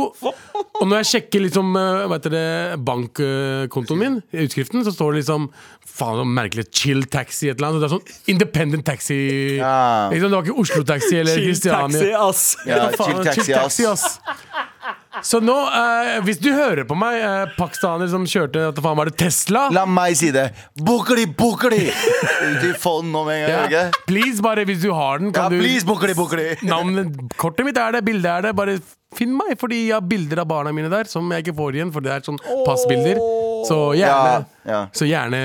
Speaker 3: Og når jeg sjekker liksom, eh, hva heter det, bankkontoen min, i utskriften, så står det liksom faen så merkelig chill taxi et eller annet. Så det er sånn independent taxi.
Speaker 4: Ja.
Speaker 3: Ikke sant, det var ikke Oslo Taxi eller
Speaker 2: Chill taxi,
Speaker 3: Kristiania.
Speaker 2: ass!
Speaker 4: Ja,
Speaker 3: Faen,
Speaker 4: chill taxi, ass.
Speaker 3: Så nå, eh, hvis du hører på meg, eh, pakistaner som kjørte at faen var det Tesla
Speaker 4: La meg si det. Bukli, bukli! Ut i fonden nå med en gang.
Speaker 3: Ja,
Speaker 4: ikke?
Speaker 3: Please, bare hvis du har den,
Speaker 4: Ja,
Speaker 3: kan
Speaker 4: please,
Speaker 3: du
Speaker 4: bukli, bukli!
Speaker 3: Navnet, kortet mitt er det, bildet er det. Bare finn meg, fordi jeg har bilder av barna mine der som jeg ikke får igjen, for det er sånn passbilder. Så gjerne,
Speaker 4: Ja, ja.
Speaker 3: Så gjerne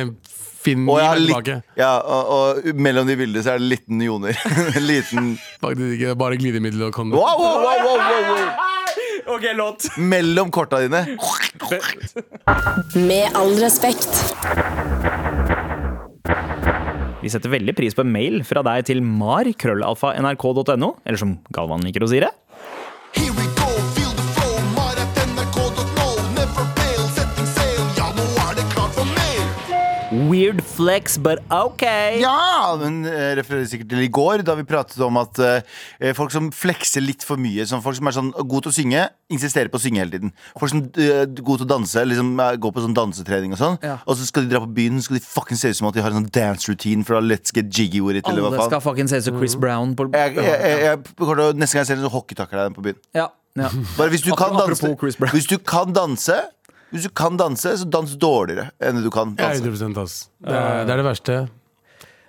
Speaker 3: finn
Speaker 4: Og, jeg har
Speaker 3: meg
Speaker 4: litt,
Speaker 3: tilbake.
Speaker 4: ja, og, og mellom de bildene så er det liten joner. liten
Speaker 3: Faktisk ikke, bare glidemiddel og kondom.
Speaker 4: wow, wow, wow, wow, wow, wow.
Speaker 2: OK, låt.
Speaker 4: Mellom korta dine.
Speaker 6: Med all respekt.
Speaker 2: Vi setter veldig pris på en mail fra deg til mar.krøllalfa.nrk.no, eller som Galvan liker å si det.
Speaker 7: Here we go, feel the flow, mar at nrk.no. Never fail, setting sail, ja nå er det klart for mer.
Speaker 2: Weird flex, but ok.
Speaker 4: Ja! Hun eh, refererer sikkert til i går, da vi pratet om at eh, folk som flekser litt for mye, som folk som er sånn god til å synge, insisterer på å synge hele tiden. Folk som eh, god til å danse, liksom eh, går på sånn dansetrening og sånn. Og så skal de dra på byen, så skal de fucking se ut som at de har en sånn dance routine fra Let's Get Jiggy with it, eller hva
Speaker 2: Alle skal
Speaker 4: faen.
Speaker 2: fucking se ut som Chris Brown. På,
Speaker 4: Jeg, jeg, jeg, jeg, kommer til å- neste gang jeg ser en sånn hockeytakker deg på byen.
Speaker 2: ja, ja.
Speaker 4: Bare hvis du kan
Speaker 2: Apropos
Speaker 4: danse,
Speaker 2: Chris Brown.
Speaker 4: hvis du kan danse hvis du kan danse, så dans dårligere enn du kan
Speaker 3: Ja,
Speaker 4: danse.
Speaker 3: 100 ass. Det er, det er det verste.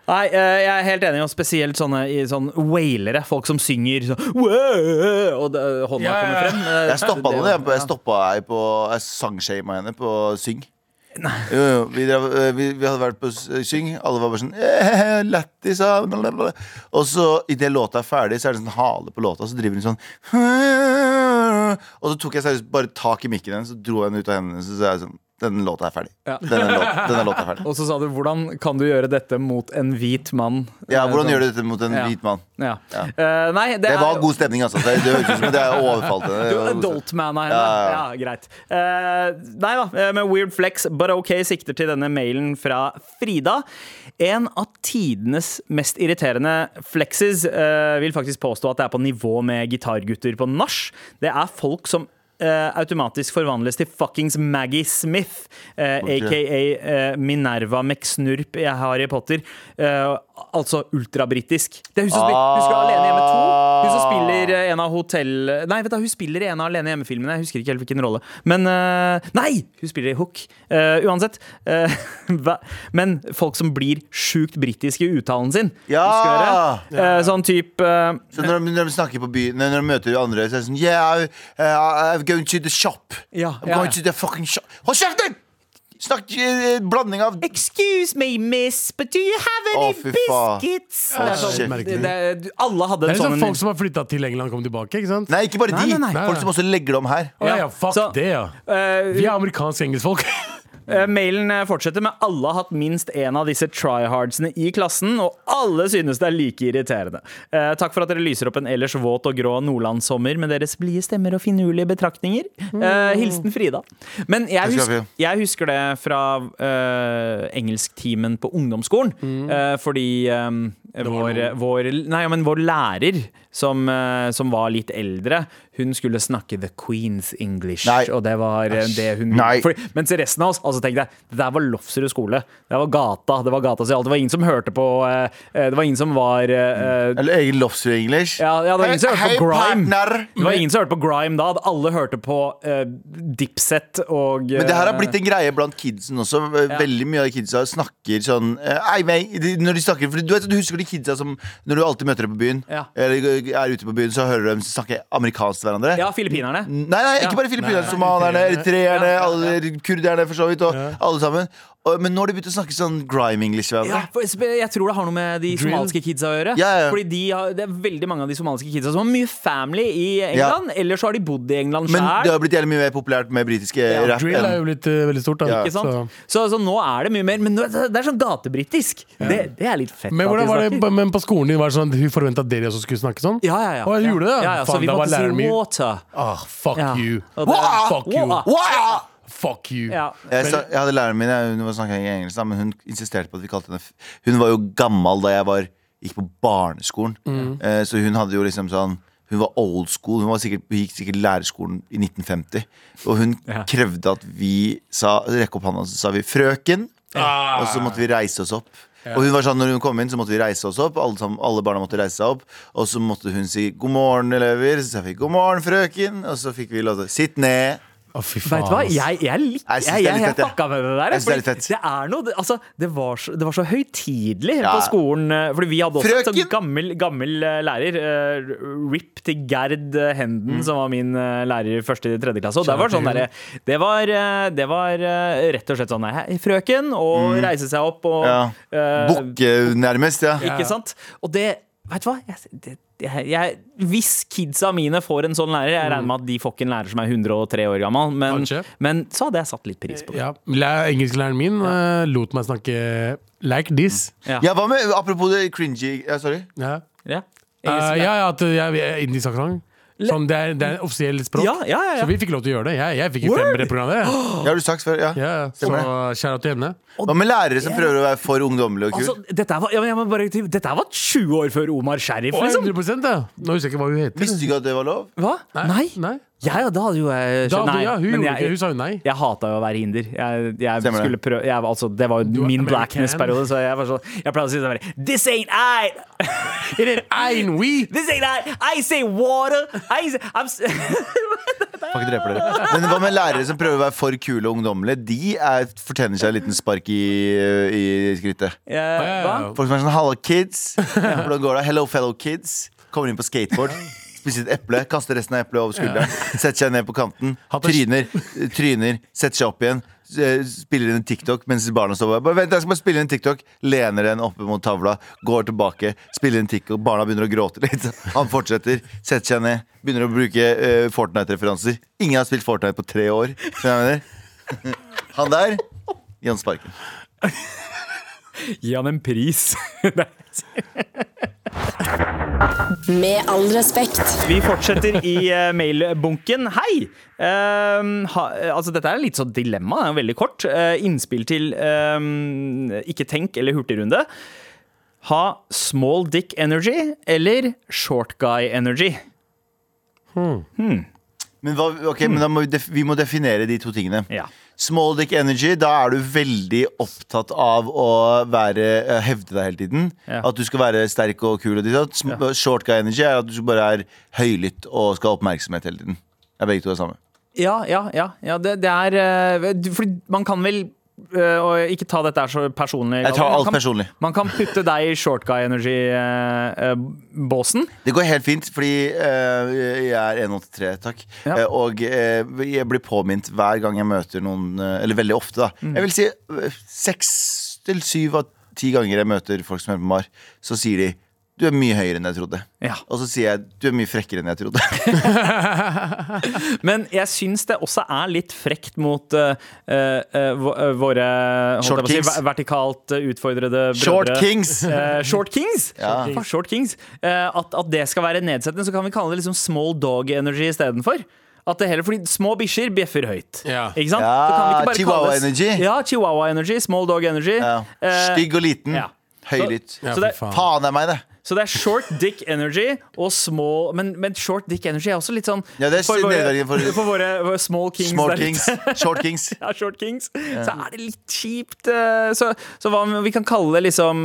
Speaker 2: Nei, eh, jeg er helt enig, og spesielt sånne, i sånn wailere. Folk som synger sånn «Wow!» Og det- hånda
Speaker 3: Ja, ja, ja.
Speaker 2: kommer frem. Eh,
Speaker 4: Jeg stoppa
Speaker 2: det-
Speaker 4: henne. Jeg, jeg, stoppa ei på, jeg sangshamet henne på syng. Jo, jo, vi, drev, eh, vi, vi hadde vært på s- syng, alle var bare sånn eh, Lættis, ah, blablabla. Og så idet låta er ferdig, så er det sånn hale på låta, så driver hun sånn Og så tok jeg seriøst bare tak i mikken hennes, så dro jeg den ut av hendene hennes, og så sa jeg sånn Denne låta er ferdig. Denne, låta, denne låta er ferdig.
Speaker 2: Og så sa du hvordan kan du gjøre dette mot en hvit mann?
Speaker 4: Ja, hvordan gjør
Speaker 2: du
Speaker 4: du dette mot en
Speaker 2: sånn. Ja.
Speaker 4: hvit mann?
Speaker 2: ja. Eh, nei, det,
Speaker 4: Det
Speaker 2: er-
Speaker 4: var god stemning, altså. Det, det høres ut som at jeg overfalt henne. Det
Speaker 2: Du
Speaker 4: var god stemning.
Speaker 2: adult man av henne.
Speaker 4: Eh, altså. Ja,
Speaker 2: Ja,
Speaker 4: ja, ja.
Speaker 2: greit. Eh, nei da, eh, med weird flex, but ok, sikter til denne mailen fra Frida. En av tidenes mest irriterende flexes eh, vil faktisk påstå at det er på nivå med gitargutter på nach. Det er folk som eh, automatisk forvandles til fuckings Maggie Smith, eh,
Speaker 4: Ok.
Speaker 2: aka eh, Minerva McSnurp i Harry Potter. Eh, altså ultrabritisk. Det er hun som spiller, husker du Alene hjemme 2? Hun
Speaker 4: Ah.
Speaker 2: som spiller eh, en av hotell... Nei, vet du, hun spiller i en av Alene hjemme-filmene. Jeg husker ikke helt hvilken rolle. Men eh, Nei! Hun spiller i Hook. Eh, uansett. eh, hva- men folk som blir sjukt britiske i uttalen sin.
Speaker 4: Ja!
Speaker 2: Husker dere? Eh, sånn type eh,
Speaker 4: Så når de, når de snakker på byen, når de møter andre, så er det sånn Yeah, I, uh, I'm going to the shop.
Speaker 2: Ja,
Speaker 4: I'm
Speaker 2: ja,
Speaker 4: going
Speaker 2: ja.
Speaker 4: to the fucking shop. Hold kjeften! Snakk eh, blanding av
Speaker 2: Excuse me, miss, but do you have any
Speaker 4: Å, fy faen.
Speaker 2: biscuits?
Speaker 4: Å,
Speaker 2: Det er sånn-
Speaker 4: shit.
Speaker 2: det, det, alle hadde en
Speaker 3: Det er liksom
Speaker 2: sånn
Speaker 3: folk som har flytta til England og kom tilbake. ikke sant?
Speaker 4: Nei, ikke bare
Speaker 2: Nei,
Speaker 4: de.
Speaker 2: nei,
Speaker 3: nei.
Speaker 4: Folk som også legger det om her.
Speaker 3: Å, ja,
Speaker 2: Ja,
Speaker 3: fuck
Speaker 2: så-
Speaker 3: det, ja.
Speaker 2: Eh,
Speaker 3: Vi er amerikanske engelskfolk.
Speaker 2: Eh, Mailen eh, fortsetter med alle har hatt minst en av disse tryhardsene i klassen, og alle synes det er like irriterende. Eh, takk for at dere lyser opp en ellers våt og grå nordlandssommer med deres blide stemmer og finurlige betraktninger. Eh, hilsen Frida. Men jeg
Speaker 4: Takk skal du
Speaker 2: husker,
Speaker 4: ha.
Speaker 2: jeg husker det fra eh, engelsktimen på ungdomsskolen, eh, fordi eh, vår, vår, nei, ja, men vår lærer, som, eh, som var litt eldre, hun skulle snakke the Queen's English,
Speaker 4: Nei.
Speaker 2: og det var eh, det hun
Speaker 4: Nei.
Speaker 2: For, mens resten av oss, altså tenk deg, det der var Lofsrud skole. Det var gata, det var gata så alt. Det var ingen som hørte på eh, eh, Det var ingen som var eh, eh,
Speaker 4: Eller egen lobster english.
Speaker 2: ja, ja, det var ingen som hørte
Speaker 4: Hei,
Speaker 2: på Grime.
Speaker 4: partner!
Speaker 2: Det var ingen som hørte på Grime da. Alle hørte på eh, Dipset og
Speaker 4: Men det her har
Speaker 2: eh,
Speaker 4: blitt en greie blant kidsen også. Veldig mye av kidsa snakker sånn eh, Ei, mei, de, Når de snakker Fordi du, vet, du husker de kidsa som Når du alltid møter dem på byen,
Speaker 2: Ja.
Speaker 4: eller er ute på byen, så hører du dem snakke amerikansk til hverandre.
Speaker 2: eh, Ja, filippinerne.
Speaker 4: Nei, nei,
Speaker 2: Ja.
Speaker 4: ikke bare filippinerne, somalierne, eritreerne, alle kurderne for så vidt, og alle sammen. Og, men nå har de begynt å snakke sånn grime-english.
Speaker 2: Ja,
Speaker 4: hverandre.
Speaker 2: for sp- jeg tror det har noe med de
Speaker 3: Drill.
Speaker 2: somaliske kidsa å gjøre.
Speaker 4: Ja, ja.
Speaker 2: Fordi de har, Det er veldig mange av de somaliske kidsa som har mye family i England. Eller så har de bodd i England
Speaker 4: Men det
Speaker 2: sjøl.
Speaker 4: har blitt jævlig mye mer populært med britiske rapp.
Speaker 3: Drill er
Speaker 4: enn
Speaker 3: jo blitt eh, veldig stort. da
Speaker 4: Ja.
Speaker 2: Ikke
Speaker 3: Så-
Speaker 2: sant? Så, så nå er det mye mer. Men nå- det er sånn gatebritisk. Det, det er litt fett.
Speaker 3: Men,
Speaker 2: at de
Speaker 3: hvordan var det,
Speaker 2: snakker.
Speaker 3: men på skolen din var det sånn at hun forventa at dere også skulle snakke sånn?
Speaker 2: Ja, ja, ja.
Speaker 3: Å, jeg gjorde det?
Speaker 2: Ja, ja, så
Speaker 3: Faen,
Speaker 2: vi
Speaker 3: da var
Speaker 2: måtte
Speaker 3: læreren
Speaker 2: si
Speaker 3: min
Speaker 2: water.
Speaker 3: Ah, fuck
Speaker 2: Ja.
Speaker 3: you.
Speaker 2: Og det-
Speaker 3: Wah! Fuck you.
Speaker 2: Wah!
Speaker 3: Wah! Fuck you.
Speaker 2: Ja.
Speaker 4: Jeg, sa, jeg hadde læreren min, jeg, hun snakka ikke engelsk, da, men hun insisterte på at vi kalte henne f- Hun var jo gammel da jeg var, gikk på barneskolen, eh, så hun hadde jo liksom sånn hun var old school, hun var sikkert, hun gikk sikkert lærerskolen i 1950. Og hun
Speaker 2: Ja.
Speaker 4: krevde at vi sa rekke opp hånda, så sa vi 'frøken'. Og så måtte vi reise oss opp. Og hun var sånn, når hun kom inn, så måtte vi reise oss opp. Alle, sammen, alle barna måtte reise seg opp. Og så måtte hun si 'god morgen, elever'. Så sa vi 'god morgen, frøken'. Og så fikk vi lov til å 'sitt ned'.
Speaker 3: Å, fy faen.
Speaker 2: Vet du hva,
Speaker 3: ass.
Speaker 2: jeg, jeg, lik,
Speaker 4: Jeg
Speaker 2: jeg,
Speaker 4: synes
Speaker 2: jeg,
Speaker 4: det er litt fett, ja.
Speaker 2: fucka med det der.
Speaker 4: Jeg synes det er
Speaker 2: fordi
Speaker 4: litt fett.
Speaker 2: det, er noe, det- altså, det, var så, det var så høytidelig
Speaker 4: Ja.
Speaker 2: på skolen. eh, Fordi vi hadde også en
Speaker 4: Frøken!
Speaker 2: sånn gammel, gammel eh, lærer. eh, RIP til Gerd eh, Henden,
Speaker 4: Mm.
Speaker 2: som var min eh, lærer i første til tredje klasse. Og det var sånn derre Det var, eh, det var eh, rett og slett sånn eh, Frøken, og reise seg opp og
Speaker 4: Mm. Ja.
Speaker 2: eh,
Speaker 4: Bukke, nærmest, ja.
Speaker 2: Ikke sant? Og det Vet du hva? Jeg, det, jeg, jeg, hvis kidsa mine får en sånn lærer Jeg regner med at de får ikke en lærer som er 103 år gammel, men,
Speaker 3: Kanskje.
Speaker 2: men så hadde jeg satt litt pris på det.
Speaker 3: ja. læ- Engelsklæreren min eh, lot meg snakke like this.
Speaker 2: Ja.
Speaker 4: Ja, hva med Apropos det cringy ja, Sorry.
Speaker 3: Ja.
Speaker 2: Ja.
Speaker 3: Eh,
Speaker 2: Engelsk-
Speaker 3: ja, ja, at jeg er indisk aksent. Sånn, det er, det er offisielt språk.
Speaker 2: Ja, ja, ja, ja.
Speaker 3: Så vi fikk lov til å gjøre det. Jeg, jeg fikk jo
Speaker 2: Word!
Speaker 3: femmer i programmet. jeg.
Speaker 4: Ja, har du sagt før? Ja.
Speaker 3: Ja, så
Speaker 4: Stemmer
Speaker 3: kjære til henne.
Speaker 4: Hva med lærere som prøver å være for ungdommelige og
Speaker 2: Altså,
Speaker 4: kule?
Speaker 2: dette her var, ja, men jeg må bare, dette her var 20 år før Omar Sharif,
Speaker 3: Å,
Speaker 2: liksom.
Speaker 3: 100 ja. Nå husker jeg ikke hva hun heter.
Speaker 4: Visste du ikke at det var lov?
Speaker 2: Hva? Nei.
Speaker 3: Nei.
Speaker 2: Jeg, da hadde jo jeg
Speaker 3: Da,
Speaker 2: nei,
Speaker 3: ja, hun,
Speaker 2: men
Speaker 3: gjorde
Speaker 2: jeg-
Speaker 3: ikke, hun sa jo nei.
Speaker 2: Jeg hata jo å være hinder. Jeg, jeg
Speaker 4: Stemmer det.
Speaker 2: skulle prøve jeg, altså, Det var
Speaker 3: er
Speaker 2: jo min
Speaker 3: American.
Speaker 2: blackness-periode, så jeg, var sånn- jeg pleide å si sånn bare, This ain't I!
Speaker 3: It ain't ein we.
Speaker 2: This ain't I! I say water! I say, I'm s-
Speaker 4: Kan ikke drepe dere. Men hva med lærere som prøver å være for kule og ungdommelige? De er, fortjener seg en liten spark i, i skrittet.
Speaker 2: Eh, hva?
Speaker 4: Folk som er sånn 'halla, kids'. Hvordan går det? Hello, fellow kids. Kommer inn på skateboard. Spiser et eple, kaster resten av eplet over skulderen. Setter seg ned på kanten.
Speaker 3: Hatt en-
Speaker 4: Tryner. Tryner. Setter seg opp igjen. eh, spiller inn en TikTok mens barna står bare, bare Vent, jeg skal bare spille inn en TikTok. Lener den oppe mot tavla, går tilbake, spiller inn TikTok. Barna begynner å gråte litt. Han fortsetter, setter seg ned, begynner å bruke eh, Fortnite-referanser. Ingen har spilt Fortnite på tre år. Skjønner du hva jeg mener? Han der Jan Sparken.
Speaker 2: Gi han en pris. Nei.
Speaker 6: Med all respekt.
Speaker 2: Vi fortsetter i eh, mailbunken. Hei! Ehm, ha, altså, dette er litt sånn dilemma. Det er jo veldig kort. Eh, innspill til ehm, Ikke tenk eller hurtigrunde. Ha small dick energy eller short guy energy.
Speaker 4: Men, hva, ok, men da må vi, def vi må definere de to tingene.
Speaker 2: Ja.
Speaker 4: Small dick energy, da er du veldig opptatt av å være, eh, hevde deg hele tiden.
Speaker 2: Ja.
Speaker 4: At du skal være sterk og kul. Og ditt og datt. Sm- Short guy energy er at du bare er høylytt og skal ha oppmerksomhet hele tiden. Det er begge to det samme.
Speaker 2: Ja, ja, ja. ja det, det er eh, du- Fordi man kan vel eh, og ikke ta dette her så personlig.
Speaker 4: Jeg tar
Speaker 2: Galvan.
Speaker 4: alt
Speaker 2: Man kan-
Speaker 4: personlig.
Speaker 2: Man kan putte deg i short guy eh, energy-båsen.
Speaker 4: Det går helt fint, fordi eh, jeg er 1,83, takk.
Speaker 2: Ja.
Speaker 4: Eh, og eh, jeg blir påminnet hver gang jeg møter noen eh, Eller veldig ofte, da.
Speaker 2: Mm.
Speaker 4: Jeg vil si eh, seks til syv av ti ganger jeg møter folk som er på MAR, så sier de du er mye høyere enn jeg trodde.
Speaker 2: Ja.
Speaker 4: Og så sier jeg du er mye frekkere enn jeg trodde.
Speaker 2: Men jeg syns det også er litt frekt mot eh, eh, eh, vå- eh, våre holdt
Speaker 4: Short
Speaker 2: jeg på å si,
Speaker 4: kings.
Speaker 2: ver- vertikalt eh, utfordrede brødre.
Speaker 4: Short kings!
Speaker 2: Eh, short Kings!
Speaker 4: Ja.
Speaker 2: Fuck, Short Kings. Eh, at, at det skal være nedsettende, så kan vi kalle det liksom small dog energy istedenfor. At det heller, fordi Små bikkjer bjeffer høyt.
Speaker 3: Ja.
Speaker 2: Ikke sant?
Speaker 4: Ja,
Speaker 2: Så kan vi ikke bare
Speaker 4: Chihuahua
Speaker 2: kalles-
Speaker 4: energy.
Speaker 2: Ja, Chihuahua energy. Small dog energy.
Speaker 4: Ja.
Speaker 2: Eh,
Speaker 4: Stygg og liten.
Speaker 2: ja.
Speaker 4: Høylytt.
Speaker 3: Ja,
Speaker 2: Så det-
Speaker 3: fy faen.
Speaker 4: Faen, det er meg, det.
Speaker 2: så det er short dick energy og small Men, men short dick energy er også litt sånn
Speaker 4: Ja, det er
Speaker 2: for, våre,
Speaker 4: nedverdigende
Speaker 2: for,
Speaker 4: for-
Speaker 2: våre, våre small kings
Speaker 4: Small
Speaker 2: der ute.
Speaker 4: kings. Short kings.
Speaker 2: ja, Short Kings, så er det litt kjipt. eh, Så, så hva om vi kan kalle det liksom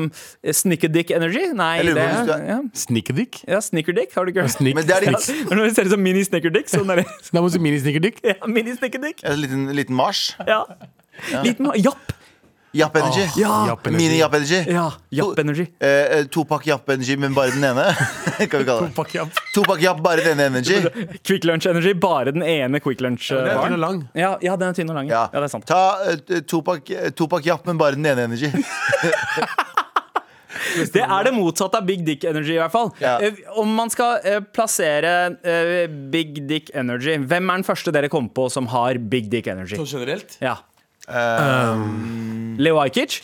Speaker 2: snickerdick energy? Nei,
Speaker 4: Jeg lurer
Speaker 2: det
Speaker 4: på om
Speaker 2: er
Speaker 4: hvis
Speaker 2: ja.
Speaker 3: Snickedick?
Speaker 2: ja, snickerdick, har du ikke hørt?
Speaker 3: Snick.
Speaker 4: Men det er
Speaker 2: Ja,
Speaker 4: litt
Speaker 2: det er når det ser ut som mini snickerdick, sånn er det.
Speaker 3: Da må du si minisnickerdick.
Speaker 2: Ja, mini snickerdick.
Speaker 4: en liten, liten Mars.
Speaker 2: Ja. Liten ma- Japp!
Speaker 4: Japp Energy.
Speaker 2: Ja.
Speaker 3: Japp energy.
Speaker 4: Mini Japp Energy.
Speaker 2: Ja, Japp energy.
Speaker 4: Eh, eh, Topak Japp Energy, men bare den ene. kan vi kalle det.
Speaker 3: Fuck up.
Speaker 4: Topak Japp, bare den ene Energy.
Speaker 2: Quick lunch energy, bare den ene quick
Speaker 3: Den er
Speaker 2: lunch-baren.
Speaker 3: tynn og lang.
Speaker 2: Ja, ja, den er tynn og lang. Ja,
Speaker 4: Ja.
Speaker 2: ja det er sant.
Speaker 4: Ta eh, Topak, eh, Topak Japp, men bare den ene Energy.
Speaker 2: Det er det motsatte av big dick energy, i hvert fall.
Speaker 4: Ja.
Speaker 2: Eh, Om man skal eh, plassere eh, big dick energy, hvem er den første dere kom på som har big dick energy?
Speaker 3: generelt?
Speaker 2: Ja.
Speaker 4: Um,
Speaker 2: Leo Ajkic?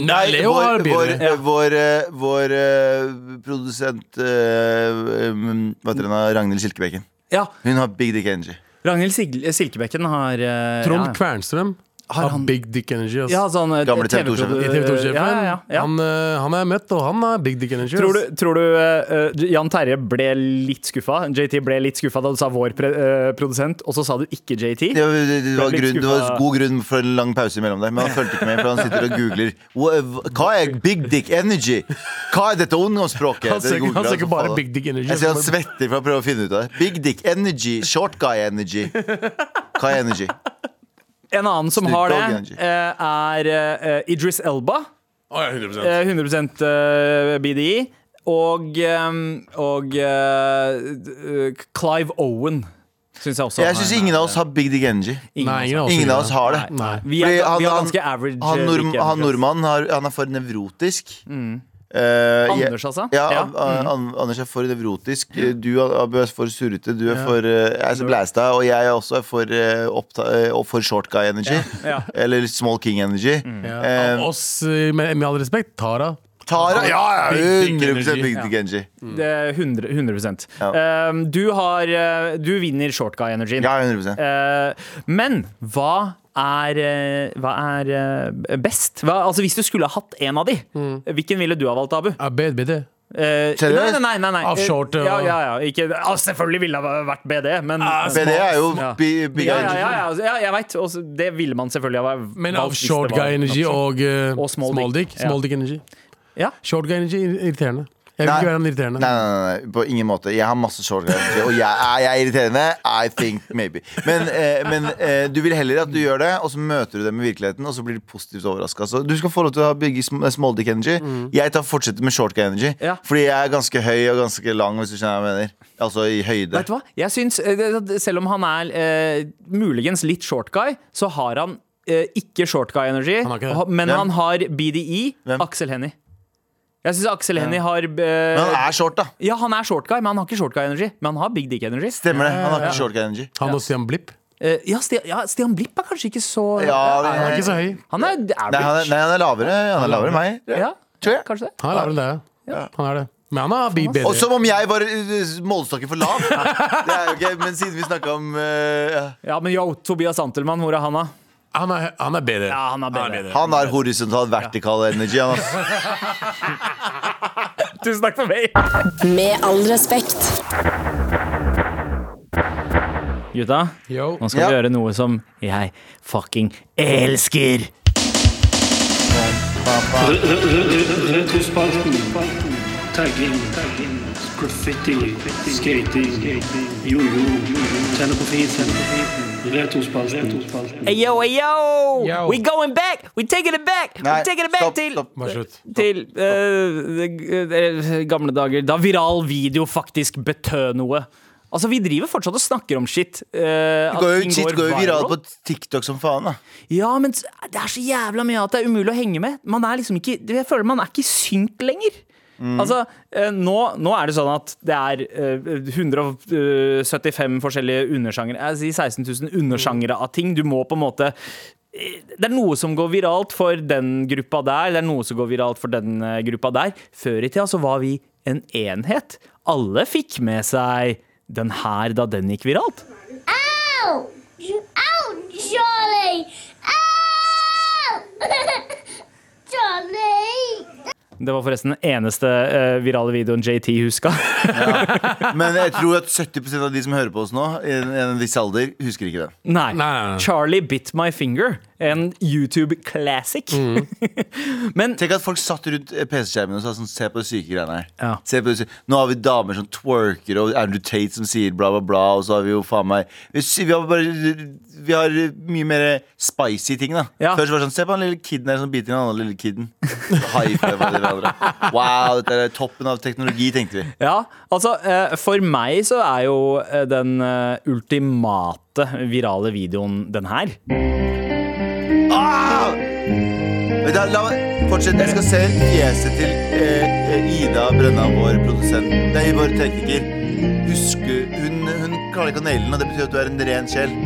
Speaker 3: Nei, Leo
Speaker 4: vår,
Speaker 3: har
Speaker 4: vår,
Speaker 3: bilder.
Speaker 4: eh, vår, eh, vår eh, produsent eh, um, Hva heter hun? da? Ragnhild Silkebekken.
Speaker 2: Ja.
Speaker 4: Hun har Big Dick Energy.
Speaker 2: Ragnhild Sigl- Silkebekken har eh,
Speaker 3: Trond
Speaker 2: ja.
Speaker 3: Kvernstrøm
Speaker 2: Har
Speaker 3: har
Speaker 2: han-
Speaker 3: big dick energy. ass.
Speaker 2: Ja, sånn eh,
Speaker 4: Gamle TV2
Speaker 2: TV-produ-
Speaker 4: -sjefen.
Speaker 3: I TV 2-sjefen.
Speaker 2: Ja, ja, ja.
Speaker 3: han, eh, han er møtt, og han har big dick energy.
Speaker 2: Tror
Speaker 3: ass.
Speaker 2: du, tror du eh, eh, Jan Terje ble litt skuffa? JT ble litt skuffa da du sa vår pre eh, produsent, og så sa du ikke JT?
Speaker 4: Det var, det, det, var
Speaker 2: Ble litt
Speaker 4: grunn, det var
Speaker 2: skuffa.
Speaker 4: god grunn for en lang pause imellom der, men han fulgte ikke med. For han sitter og googler Hva- Hva er Big Dick Energy? Hva er dette ungdomsspråket?
Speaker 3: Han
Speaker 4: Det
Speaker 3: søker-
Speaker 4: googler
Speaker 3: han søker
Speaker 4: som
Speaker 3: bare
Speaker 4: faen.
Speaker 3: Big Dick Energy.
Speaker 4: Jeg ser han svetter for å prøve å finne ut av det. Big Dick Energy, Short Guy Energy. Hva er energy?
Speaker 2: En annen som
Speaker 4: Snoop
Speaker 2: har
Speaker 4: Dogg
Speaker 2: det,
Speaker 4: energy.
Speaker 2: eh, er eh, Idris Elba.
Speaker 3: Å, ja, 100%.
Speaker 2: Eh, 100 eh, BDI. Og, ehm, og eh, eh, Clive Owen syns jeg også.
Speaker 4: Jeg syns ingen av oss har Big Dick Energy.
Speaker 3: Nei, ingen av oss,
Speaker 4: Ingen av oss har det.
Speaker 3: Nei.
Speaker 2: Vi er,
Speaker 4: Fordi
Speaker 2: vi er ganske average.
Speaker 4: Han,
Speaker 2: eh,
Speaker 4: nordm-
Speaker 2: like
Speaker 4: han
Speaker 2: average.
Speaker 4: nordmannen har, han er for nevrotisk. Eh, jeg-
Speaker 2: Anders, altså?
Speaker 4: Ja,
Speaker 2: Ja.
Speaker 4: An- An- Anders er for nevrotisk. Du Abu, er for surrete. Du er for eh, jeg er så blæsta. Og jeg er også for, eh, oppta, eh, og for short guy energy.
Speaker 2: Ja. Mm.
Speaker 4: Eller small king energy.
Speaker 3: Ja. Av
Speaker 4: Eh,
Speaker 3: oss, eh, med, med all respekt, Tara.
Speaker 4: Tara! Ja, ja,
Speaker 3: Big dick
Speaker 4: 100
Speaker 3: energy.
Speaker 4: big dick energy.
Speaker 2: Det er 100, 100%.
Speaker 4: Ja.
Speaker 2: Ehm, du, har, eh, du vinner short guy energy.
Speaker 4: Ja, 100
Speaker 2: Eh, men hva er, eh, hva er eh, best? Hva, altså Hvis du skulle ha hatt en av de,
Speaker 3: Mm.
Speaker 2: hvilken ville du ha valgt, Abu?
Speaker 3: Er bed, bed.
Speaker 2: Eh,
Speaker 4: Seriøst?
Speaker 2: nei, nei, nei, nei, nei.
Speaker 3: Av short,
Speaker 2: Eh, ja,
Speaker 3: og-
Speaker 2: ja, ja. Ikke, ah, selvfølgelig ville det vært BD, men
Speaker 4: BD er jo
Speaker 2: Ja.
Speaker 4: bi- big
Speaker 2: ja, ja,
Speaker 4: energy.
Speaker 2: ja, ja, altså, ja, jeg veit. Det ville man selvfølgelig ha valgt.
Speaker 3: Men av
Speaker 2: hvis det
Speaker 3: short
Speaker 2: var
Speaker 3: guy
Speaker 2: en
Speaker 3: energy
Speaker 2: opsjon.
Speaker 3: og, eh,
Speaker 2: Og small
Speaker 3: small,
Speaker 2: dick.
Speaker 3: dick.
Speaker 2: Ja.
Speaker 3: Small dick energy.
Speaker 2: Ja.
Speaker 3: Short guy energy ir- irriterende. Jeg vil
Speaker 4: Nei.
Speaker 3: ikke være han irriterende.
Speaker 4: Nei, nei, nei, nei, på ingen måte. Jeg har masse short guy energy. Og jeg, er jeg irriterende? I think maybe. Men, eh, men eh, du vil heller at du gjør det, og så møter du dem i virkeligheten, og så blir du positivt overraska. Så du skal få lov til å ha bygge sm- eh, small dick energy.
Speaker 3: Mm.
Speaker 4: Jeg tar fortsetter med short guy energy,
Speaker 2: Ja.
Speaker 4: fordi jeg er ganske høy og ganske lang, hvis du skjønner hva jeg mener. Altså i høyde.
Speaker 2: Vet du hva? Jeg syns, eh, det- det- Selv om han er eh, muligens litt short guy, så har han eh, ikke short guy energy,
Speaker 3: har ikke det.
Speaker 2: ha- men
Speaker 4: Hvem?
Speaker 2: han har BDI.
Speaker 4: Hvem?
Speaker 2: Aksel Hennie. Jeg syns Aksel Hennie har eh,
Speaker 4: Men han er short, da.
Speaker 2: Ja, han er short guy, men han har ikke short guy energy. Men han har big dick energy.
Speaker 4: Stemmer det. Han har ikke short guy energy.
Speaker 3: Han og Stian Blipp.
Speaker 2: Eh, ja, Stian, ja, Stian Blipp er kanskje ikke så
Speaker 4: Ja,
Speaker 3: Han er ikke så høy.
Speaker 2: Han er average.
Speaker 4: Nei, han er, nei, han er lavere Han er lavere enn meg.
Speaker 2: ja,
Speaker 4: Tror jeg.
Speaker 2: kanskje det.
Speaker 3: Han er lavere enn deg. ja. Han er det. Men han har blitt
Speaker 4: Og
Speaker 3: bedre.
Speaker 4: som om jeg var uh, målestokken for lav! Det er jo ikke, Men siden vi snakka om eh, ja.
Speaker 2: Ja, men yo, Tobias Antelmann, hvor er han, da?
Speaker 3: Han er, han er bedre.
Speaker 2: Ja, han er bedre.
Speaker 4: Han har horisontal, vertikal energy. Han, ass.
Speaker 2: Tusen takk for meg!
Speaker 6: Med all respekt.
Speaker 2: Gutta,
Speaker 3: Yo.
Speaker 2: nå skal vi
Speaker 4: Ja.
Speaker 2: gjøre noe som jeg fucking elsker.
Speaker 8: Retrospalten. Tagging. Graffiti. Skating. Jojo. Tenne på fisen. Retrospalten.
Speaker 2: Ayo, ayo!
Speaker 3: Yo.
Speaker 2: We going back! We taking it back!
Speaker 4: Nei,
Speaker 2: We taking it back
Speaker 4: stopp,
Speaker 2: til
Speaker 4: stopp.
Speaker 3: Bare slutt.
Speaker 2: til eh, eh, eh, gamle dager, da viral video faktisk betød noe. Altså, Vi driver fortsatt og snakker om shit. eh, at
Speaker 4: Det går jo,
Speaker 2: ting
Speaker 4: shit går jo viralt
Speaker 2: viral.
Speaker 4: på TikTok som faen. Da.
Speaker 2: Ja, men s- det er så jævla mye at det er umulig å henge med. Man er liksom ikke, Jeg føler man er ikke i synk lenger. Altså, eh, nå, nå er det sånn at det er eh, 175 forskjellige undersjangere Jeg sier 16 000 undersjangere av ting. Du må på en måte eh, det er noe som går viralt for den gruppa der, det er noe som går viralt for den eh, gruppa der. Før i tida så var vi en enhet. Alle fikk med seg den her da den gikk viralt.
Speaker 9: Ow! Ow, Charlie! Ow! Charlie!
Speaker 2: Det var forresten den eneste eh, virale videoen JT huska.
Speaker 4: Men jeg tror at 70 av de som hører på oss nå, i en, i en viss alder, husker ikke det.
Speaker 2: Nei.
Speaker 3: nei, nei.
Speaker 2: Charlie Bit My Finger. En YouTube classic. Men
Speaker 4: Tenk at folk satt rundt eh, PC-skjermen og sa sånn Se på de syke greiene her.
Speaker 2: Ja.
Speaker 4: Se på de syke. Nå har vi damer som twerker, og Andrew Tate som sier bla, bla, bla. Og så har vi jo faen meg Vi, sy- vi, har, bare, vi har mye mer spicy ting, da.
Speaker 2: Ja.
Speaker 4: Før så var det sånn Se på han lille kiden der som biter i den andre lille kiden. High five av dere andre. Wow, dette er toppen av teknologi, tenkte vi.
Speaker 2: ja, altså eh, for meg så er jo eh, den eh, ultimate virale videoen den her.
Speaker 4: Ah! Vent da, la meg fortsette. Jeg skal se fjeset til eh, eh, Ida Brønna, vår produsent. Nei, vår tekniker. Huske, hun, hun klarer ikke å naile den, og det betyr at du er en ren sjel.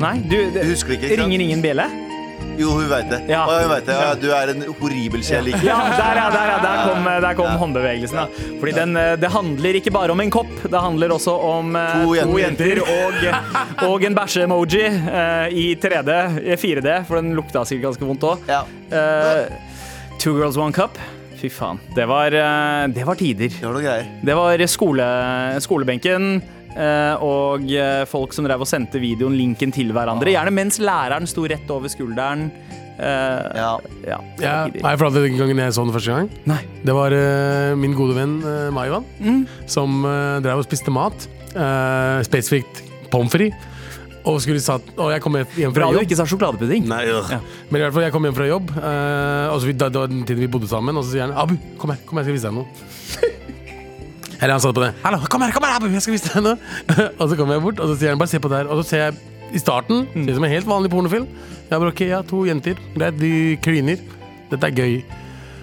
Speaker 2: Nei, du, det,
Speaker 4: Du husker ikke, ikke sant?
Speaker 2: ringer ingen bjelle?
Speaker 4: Jo, hun veit det.
Speaker 2: Ja.
Speaker 4: Å, hun vet det. Ja, du er en horribel sjel. Ikke?
Speaker 2: Ja, der, ja, der, ja, der kom, eh, der kom håndbevegelsen. Ja. Fordi den, eh, det handler ikke bare om en kopp, det handler også om eh,
Speaker 4: To jenter.
Speaker 2: og, og en bæsje-emoji eh, i 3D, eh, 4D, for den lukta sikkert ganske vondt òg.
Speaker 4: Ja.
Speaker 2: Eh, two Girls One Cup. Fy faen. Det var, eh, det var tider.
Speaker 4: Det var noen greier.
Speaker 2: Det var skole, skolebenken. eh, og eh, folk som drev og sendte videoen linken til hverandre. Gjerne mens læreren sto rett over skulderen. Eh,
Speaker 4: Ja.
Speaker 2: ja.
Speaker 3: Ja,
Speaker 2: det var tider.
Speaker 3: nei, for at Den gangen jeg så den første gang,
Speaker 2: Nei.
Speaker 3: det var eh, min gode venn eh, Maivan
Speaker 2: Mm.
Speaker 3: som eh, drev og spiste mat. eh, spesifikt pommes frites. Og, skulle satt, og jeg kom hjem hjem fra
Speaker 2: Bra du
Speaker 3: jobb.
Speaker 2: ikke sa sjokoladepudding.
Speaker 3: Ja. Men i hvert fall, jeg kom hjem fra jobb, eh, og så vi, da, det var den tiden vi bodde sammen. Og så sier han Abu, kom her, kom her, jeg skal vise deg noe. Eller han sa det på det. Hallo, kom her, kom her, Abu, jeg skal vise deg noe. og så kommer jeg bort, og så sier han bare se på det her. Og så ser jeg i starten, ser det som en helt vanlig pornofilm. Jeg bare ok, ja, to jenter, greit, de kliner. Dette er gøy.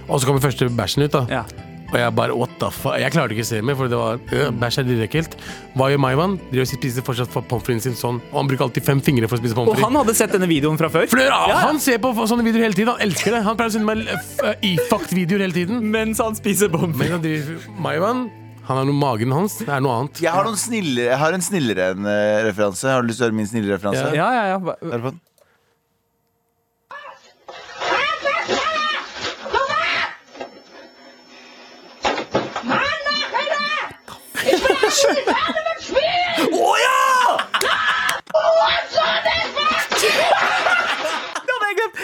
Speaker 3: Og så kommer første bæsjen ut, da.
Speaker 2: Ja.
Speaker 3: Og jeg bare, what the fuck Jeg klarte ikke å se mer, for det var øh, bæsj er direkte ekkelt. Hva gjør Maivan? Driver og spiser fortsatt pommes fritesen sin sånn. Og han bruker alltid fem fingre for å spise pommes
Speaker 2: Og
Speaker 3: frites.
Speaker 2: han hadde sett denne videoen fra før.
Speaker 3: For det gjør han.
Speaker 2: Ja, ja.
Speaker 3: Han ser på sånne videoer hele tiden. Han elsker det. Han pleier å sende meg eh, e-fucked-videoer hele tiden.
Speaker 2: Mens han spiser bomber.
Speaker 3: Men han driver Maivan. Han har noe magen hans. Det er noe annet.
Speaker 4: Jeg har, noen snillere, jeg har en snillere enn eh, referanse. Har du lyst til å høre min snillere referanse?
Speaker 2: Ja, ja, ja.
Speaker 4: Er du på den?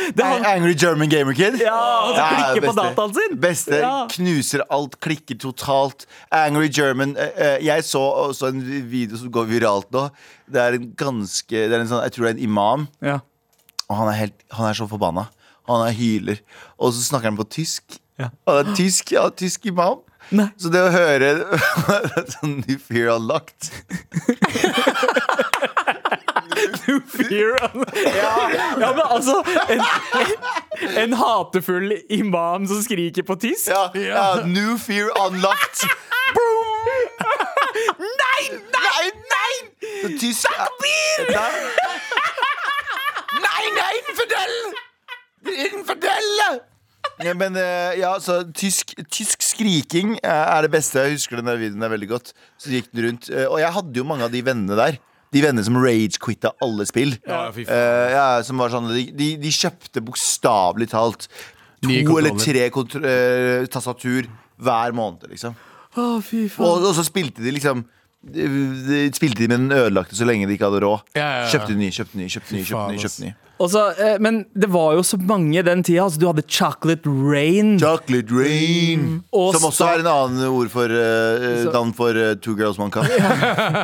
Speaker 2: Det er han
Speaker 4: Angry German Gamer Kid.
Speaker 2: Ja, han som klikker på
Speaker 4: beste.
Speaker 2: dataen sin.
Speaker 4: Beste.
Speaker 2: Ja.
Speaker 4: Knuser alt, klikker totalt. Angry German eh, eh, Jeg så også en video som går viralt nå. Det er en ganske det er en sånn, Jeg tror det er en imam,
Speaker 2: ja.
Speaker 4: og han er, helt, han er så forbanna. Han er hyler. Og så snakker han på tysk. Han er tysk, ja, tysk imam.
Speaker 2: Nei.
Speaker 4: Så det å høre sånn New Fear Unlocked
Speaker 2: New Fear of ja, ja, men altså En, en hatefull imam som skriker på tiss?
Speaker 4: Ja, ja, New fear unlocked.
Speaker 2: Nei, nei, nei!
Speaker 4: Så Tysk Takbir! Nei, nei, infidel! Infidelle! Ja, men eh, ja, så tysk, tysk skriking eh, er det beste. Jeg husker den der videoen der veldig godt. Så gikk den rundt. eh, Og jeg hadde jo mange av de vennene der. De vennene som rage-quitta alle spill.
Speaker 3: Ja, fy faen.
Speaker 4: Eh, ja, som var sånn, de, de, de kjøpte bokstavelig talt to
Speaker 3: Nye
Speaker 4: eller
Speaker 3: kontroller.
Speaker 4: tre kontro eh, tastatur hver måned, liksom. Og, og så spilte de liksom de, de, Spilte de med den ødelagte så lenge de ikke hadde råd.
Speaker 3: Ja, ja, ja.
Speaker 4: Kjøpte ny, kjøpte ny, kjøpte ny. kjøpte
Speaker 3: faen,
Speaker 4: ny,
Speaker 3: ass.
Speaker 4: kjøpte ny
Speaker 2: Og så, eh, men det var jo så mange den tida. Altså, du hadde Chocolate Rain.
Speaker 4: Chocolate rain.
Speaker 2: Og
Speaker 4: Som også
Speaker 2: så-
Speaker 4: er en annen ord for eh,
Speaker 2: Mm. Så-
Speaker 4: navn for eh, Two Girls One Cup.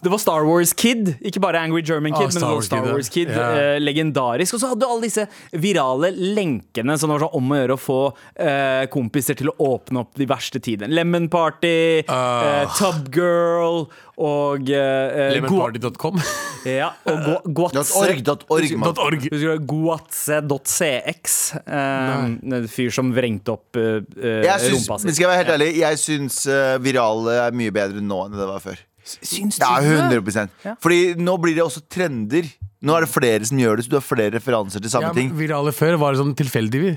Speaker 2: Det var Star Wars Kid, ikke bare Angry German Kid.
Speaker 3: Ah,
Speaker 2: men det
Speaker 3: Star
Speaker 2: var
Speaker 3: Wars
Speaker 2: Star
Speaker 3: Kid,
Speaker 2: Wars Kid,
Speaker 3: ja. Ja.
Speaker 2: eh, Legendarisk. Og så hadde du alle disse virale lenkene som det var sånn om å gjøre å få eh, kompiser til å åpne opp de verste tidene. Lemon Party,
Speaker 3: Ah.
Speaker 2: eh, Tub Girl og eh, eh, Gua-
Speaker 3: Lemonparty.com.
Speaker 2: ja, og
Speaker 4: Eh,
Speaker 2: Gua- Guatse.
Speaker 4: .org, mann.
Speaker 3: .org.
Speaker 2: Husker du Guatse.cx? Eh, en fyr som vrengte opp eh, eh,
Speaker 4: Jeg syns,
Speaker 2: rumpa
Speaker 4: men
Speaker 2: si.
Speaker 4: skal jeg være helt ærlig, jeg syns eh, virale er mye bedre nå enn det var før.
Speaker 2: Syns
Speaker 4: Ja,
Speaker 2: du det?
Speaker 4: 100 Fordi nå blir det også trender. Nå er det flere som gjør det, så du har flere referanser til samme
Speaker 3: Ja,
Speaker 4: ting.
Speaker 3: men virale før var det sånn tilfeldig. vi.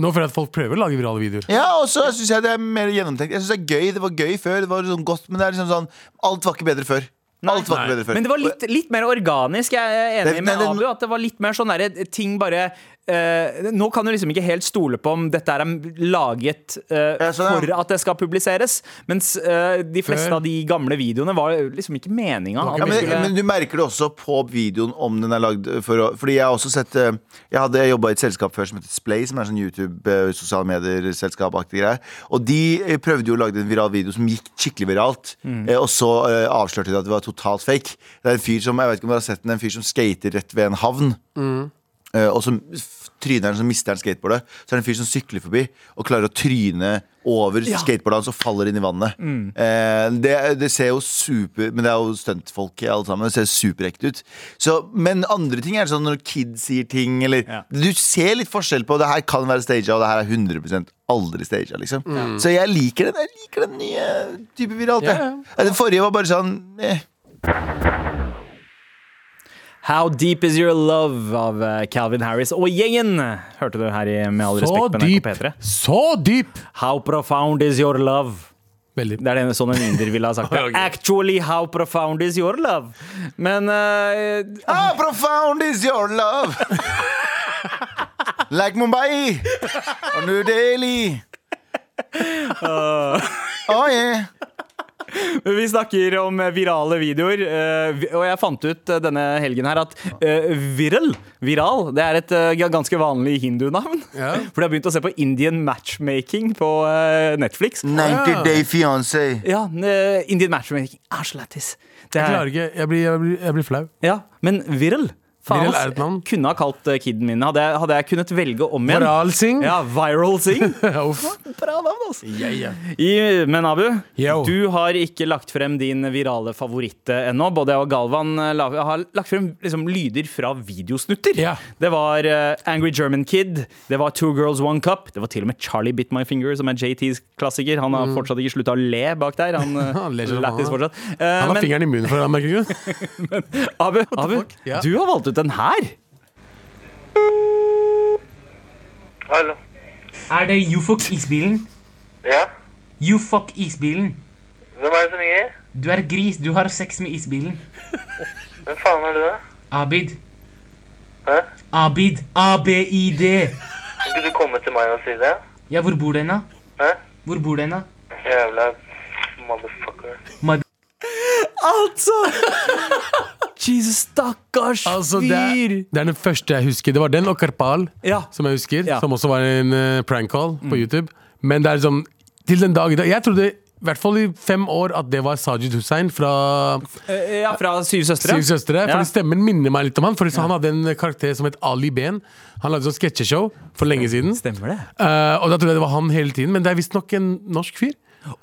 Speaker 3: Nå føler jeg at folk prøver å lage virale videoer.
Speaker 4: Ja, og så syns jeg det er mer gjennomtenkt. Jeg synes Det er gøy, det var gøy før, det var sånn godt, men det er liksom sånn Alt var ikke bedre før. Alt var ikke bedre før.
Speaker 2: Men det var litt, litt mer organisk. Jeg er
Speaker 4: Det-
Speaker 2: enig med
Speaker 4: det-
Speaker 2: Abu. At det var litt mer sånn derre ting bare eh, Nå kan du liksom ikke helt stole på om dette er laget eh,
Speaker 4: Ja, sånn, ja.
Speaker 2: for at det skal publiseres. Mens eh, de fleste
Speaker 3: Før.
Speaker 2: av de gamle videoene var liksom ikke meninga.
Speaker 4: ja, men, men du merker det også på videoen om den er lagd for å Fordi jeg har også sett eh, Jeg hadde jeg jobba i et selskap før som heter Splay, som er sånn YouTube, eh, sosiale medier-selskapaktig greie. Og de eh, prøvde jo å lage en viral video som gikk skikkelig viralt.
Speaker 2: Mm.
Speaker 4: Eh, Og så eh, avslørte de at det var totalt fake. Det er en fyr som jeg vet ikke om dere har sett den, det er en fyr som skater rett ved en havn. Eh, Og så f- tryner han, så mister han skateboardet. Så er det en fyr som sykler forbi og klarer å tryne over skateboardet hans og faller inn i vannet. Eh, det, det ser jo super Men det er jo stuntfolk alle sammen. Det ser superekte ut. Så, men andre ting er sånn når kids sier ting, eller
Speaker 2: Ja.
Speaker 4: Du ser litt forskjell på det her kan være staged, og det her er 100 aldri staged. Liksom. Så jeg liker den Jeg liker den nye type viralt. jeg. Eh, Den forrige var bare sånn eh.
Speaker 2: How Deep Is Your Love av eh, Calvin Harris og gjengen, hørte du her i Med all
Speaker 3: Så
Speaker 2: respekt på
Speaker 3: dyp!
Speaker 2: NRK P3.
Speaker 3: Så dyp!
Speaker 2: How profound is your love?
Speaker 3: Veldig.
Speaker 2: Det er det sånn en inder ville ha sagt. det.
Speaker 3: Ok.
Speaker 2: Actually, how profound is your love? Men eh,
Speaker 4: How profound is your love? Like Mumbai og New Delhi.
Speaker 2: Ah.
Speaker 4: Oh yeah.
Speaker 2: Vi snakker om virale videoer, eh, vi- og jeg fant ut eh, denne helgen her at eh, viral, viral, det er et eh, ganske vanlig hindunavn.
Speaker 3: Ja.
Speaker 2: For de har begynt å se på Indian matchmaking på eh, Netflix.
Speaker 4: 90 Day Fiancé.
Speaker 2: Ja, eh, Indian matchmaking er så lættis. Det
Speaker 3: Jeg
Speaker 2: er-
Speaker 3: klarer ikke. Jeg blir, jeg blir, jeg blir flau.
Speaker 2: Ja, men viral. Faen,
Speaker 3: Viral
Speaker 2: ass.
Speaker 3: er et navn.
Speaker 2: Kunne ha kalt eh, kiden min. Hadde jeg, hadde jeg kunnet velge om igjen.
Speaker 3: Moral Singh.
Speaker 2: Ja, viral sing.
Speaker 3: Uff.
Speaker 2: Bra navn, altså. I, men Abu,
Speaker 3: Yo.
Speaker 2: du har ikke lagt frem din virale favoritt eh, ennå. Både jeg og Galvan eh, la, har lagt frem liksom, lyder fra videosnutter.
Speaker 3: Ja.
Speaker 2: Det var eh, Angry German Kid, det var Two Girls One Cup, det var til og med Charlie Bit My Finger, som er JTs klassiker. Han har fortsatt ikke slutta å le bak der. Han, eh,
Speaker 3: Han ler som
Speaker 2: lættis
Speaker 3: faen,
Speaker 2: fortsatt. Eh,
Speaker 3: Han har
Speaker 2: men
Speaker 3: fingeren i munnen for det, merker du ikke?
Speaker 2: Abu, Abu
Speaker 3: fuck? Ja.
Speaker 2: du har valgt ut den her.
Speaker 10: Hallo.
Speaker 5: Er det You Fuck Isbilen?
Speaker 10: Ja?
Speaker 5: You Fuck Isbilen.
Speaker 10: Hvem er det som ringer?
Speaker 5: Du er gris, du har sex med isbilen.
Speaker 10: Hvem faen er du, da?
Speaker 5: Abid.
Speaker 10: Hæ?
Speaker 5: Abid. A-B-I-D.
Speaker 10: Skulle du komme til meg og si det?
Speaker 5: Ja, hvor bor du hen, da?
Speaker 10: Hæ?
Speaker 5: Hvor bor du hen, da?
Speaker 10: Jævla motherfucker.
Speaker 2: Altså! Jesus, stakkars
Speaker 3: Altså, det, er,
Speaker 2: fyr.
Speaker 3: det er den første jeg husker. Det var den og Karpal,
Speaker 2: Ja.
Speaker 3: som jeg husker.
Speaker 2: Ja. Mm.
Speaker 3: Som også var en eh, prank call på YouTube. Men det er liksom Til den dag i dag Jeg trodde i hvert fall i fem år at det var Sajid Hussein fra
Speaker 2: Eh, Ja, fra Syv søstre.
Speaker 3: Syv søstre.
Speaker 2: Ja.
Speaker 3: Fordi stemmen minner meg litt om han. Fordi Han hadde en karakter som het Ali Ben. Han lagde sånn sketsjeshow for lenge siden.
Speaker 2: Stemmer det?
Speaker 3: Eh, og da trodde jeg det var han hele tiden, men det er visstnok en norsk fyr.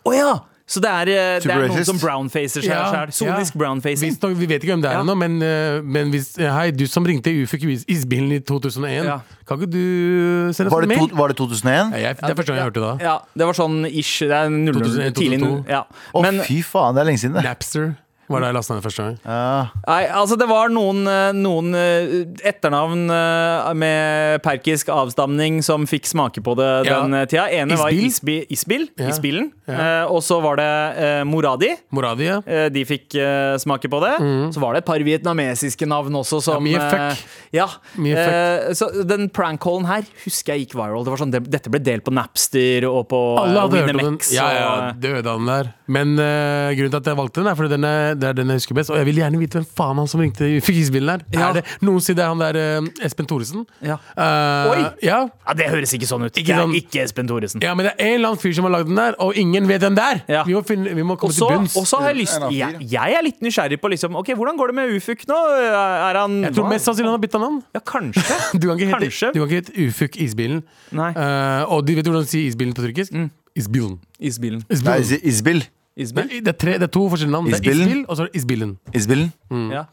Speaker 2: Å ja! Så det er, eh, det er noen
Speaker 4: Superracist.
Speaker 2: som brownfacer seg
Speaker 3: Ja,
Speaker 2: selv. Sonisk
Speaker 3: ja.
Speaker 2: brownfacing.
Speaker 3: Visstnok, vi vet ikke hvem det er
Speaker 2: Ja.
Speaker 3: ennå, men, eh, men hvis eh, Hei, du som ringte Ufuk i isbilen i 2001,
Speaker 2: Ja.
Speaker 3: kan ikke du eh, sende oss
Speaker 4: Var
Speaker 3: en
Speaker 4: det,
Speaker 3: mail?
Speaker 4: to, var det 2001?
Speaker 3: Ja, jeg, det er første gang jeg hørte det. da.
Speaker 2: Ja, det var sånn ish. Det er 00,
Speaker 3: 2001,
Speaker 2: tidlig
Speaker 3: 2002.
Speaker 2: Ja.
Speaker 4: Å,
Speaker 2: Men
Speaker 4: fy faen, det er lenge siden, det.
Speaker 3: Napster var da jeg lasta ned første gang.
Speaker 4: Ja.
Speaker 2: nei, altså det var noen, eh, noen eh, etternavn eh, med perkisk avstamning som fikk smake på det
Speaker 3: Ja.
Speaker 2: den eh, tida. Ene var Isbi,
Speaker 3: Isbil?
Speaker 2: Isbil,
Speaker 3: Ja.
Speaker 2: Isbilen.
Speaker 3: Ja.
Speaker 2: Eh, Og så var det eh, Moradi.
Speaker 3: Moradi, ja.
Speaker 2: Eh, De fikk eh, smake på det. Så var det et par vietnamesiske navn også. Som,
Speaker 3: Mm. mye
Speaker 2: eh,
Speaker 3: fuck.
Speaker 2: ja.
Speaker 3: Mye
Speaker 2: Eh, så den prank-callen her husker jeg gikk viral. Det var sånn, det, dette ble delt på Napster og på eh,
Speaker 3: Alle hadde hørt om den.
Speaker 2: Winamax.
Speaker 3: Ja, ja,
Speaker 2: og, eh,
Speaker 3: døde han der. Men eh, grunnen til at jeg valgte den, er fordi den er, det er den jeg husker best. Og jeg vil gjerne vite hvem faen han som ringte i isbilen her.
Speaker 2: Ja.
Speaker 3: Er det noen sier det er han der eh, Espen Thoresen?
Speaker 2: Ja.
Speaker 3: Eh,
Speaker 2: Oi!
Speaker 3: Ja.
Speaker 2: ja, det høres ikke sånn ut.
Speaker 3: Ikke
Speaker 2: det er
Speaker 3: sånn-
Speaker 2: ikke Espen Thoresen.
Speaker 3: ja, men det er en eller annen fyr som har lagd den der, og ingen vet hvem det er!
Speaker 2: Ja.
Speaker 3: Vi, må finne, vi må
Speaker 2: Og
Speaker 3: komme
Speaker 2: så
Speaker 3: til bunns.
Speaker 2: og så har jeg lyst
Speaker 4: En av fire.
Speaker 2: jeg, jeg er litt nysgjerrig på liksom, Ok, hvordan går det med Ufuk nå. Er han
Speaker 3: jeg tror mest sannsynlig han har bytta navn.
Speaker 2: Ja, kanskje.
Speaker 3: Du kan ikke hete,
Speaker 2: Kanskje.
Speaker 3: du kan ikke hete Ufuk Isbilen.
Speaker 2: Nei.
Speaker 3: Eh, og du vet hvordan de sier isbilen på tyrkisk? Isbilen.
Speaker 2: Isbilen.
Speaker 4: Nei,
Speaker 3: Isbilen.
Speaker 4: Is- Isbil.
Speaker 2: Isbil.
Speaker 3: Nei, det, er tre, det er to forskjellige navn. Det er
Speaker 4: Isbilen.
Speaker 3: Isbil, og så er det Isbilen.
Speaker 4: Isbilen.
Speaker 3: Mm.
Speaker 2: Ja.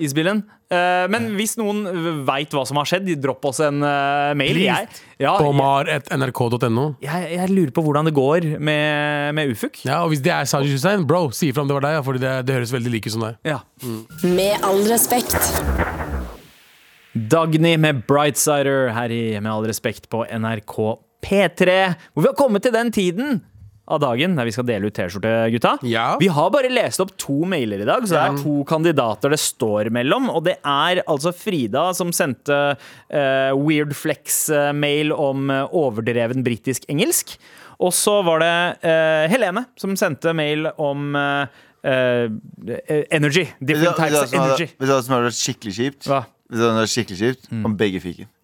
Speaker 2: Isbilen. Eh, men hvis noen veit hva som har skjedd, dropp oss en eh, mail.
Speaker 3: Please.
Speaker 2: Jeg, ja,
Speaker 3: På mar.nrk.no.
Speaker 2: jeg, jeg lurer på hvordan det går med, med ufuk.
Speaker 3: Ja, og hvis det er Saji Hussein, bro, si ifra om det var deg, ja, Fordi det, det høres veldig like ut som deg.
Speaker 2: Ja.
Speaker 6: Med all respekt.
Speaker 2: Dagny med Brightsider her i Med all respekt på NRK P3, hvor vi har kommet til den tiden av dagen der vi skal dele ut T-skjorte, gutta.
Speaker 3: Ja.
Speaker 2: Vi har bare lest opp to mailer i dag, så det er to kandidater det står mellom. Og det er altså Frida som sendte eh, Weird Flex-mail om eh, overdreven britisk engelsk. Og så var det eh, Helene som sendte mail om eh, eh, energy.
Speaker 4: Vet du
Speaker 2: Different
Speaker 4: hva- vet du
Speaker 2: types
Speaker 4: hva
Speaker 2: of
Speaker 4: som hadde-
Speaker 2: energy.
Speaker 4: vet du hva som hadde vært skikkelig kjipt?
Speaker 2: Hva? Mm.
Speaker 4: Vet du hva som hadde vært skikkelig kjipt? Om begge fikk den.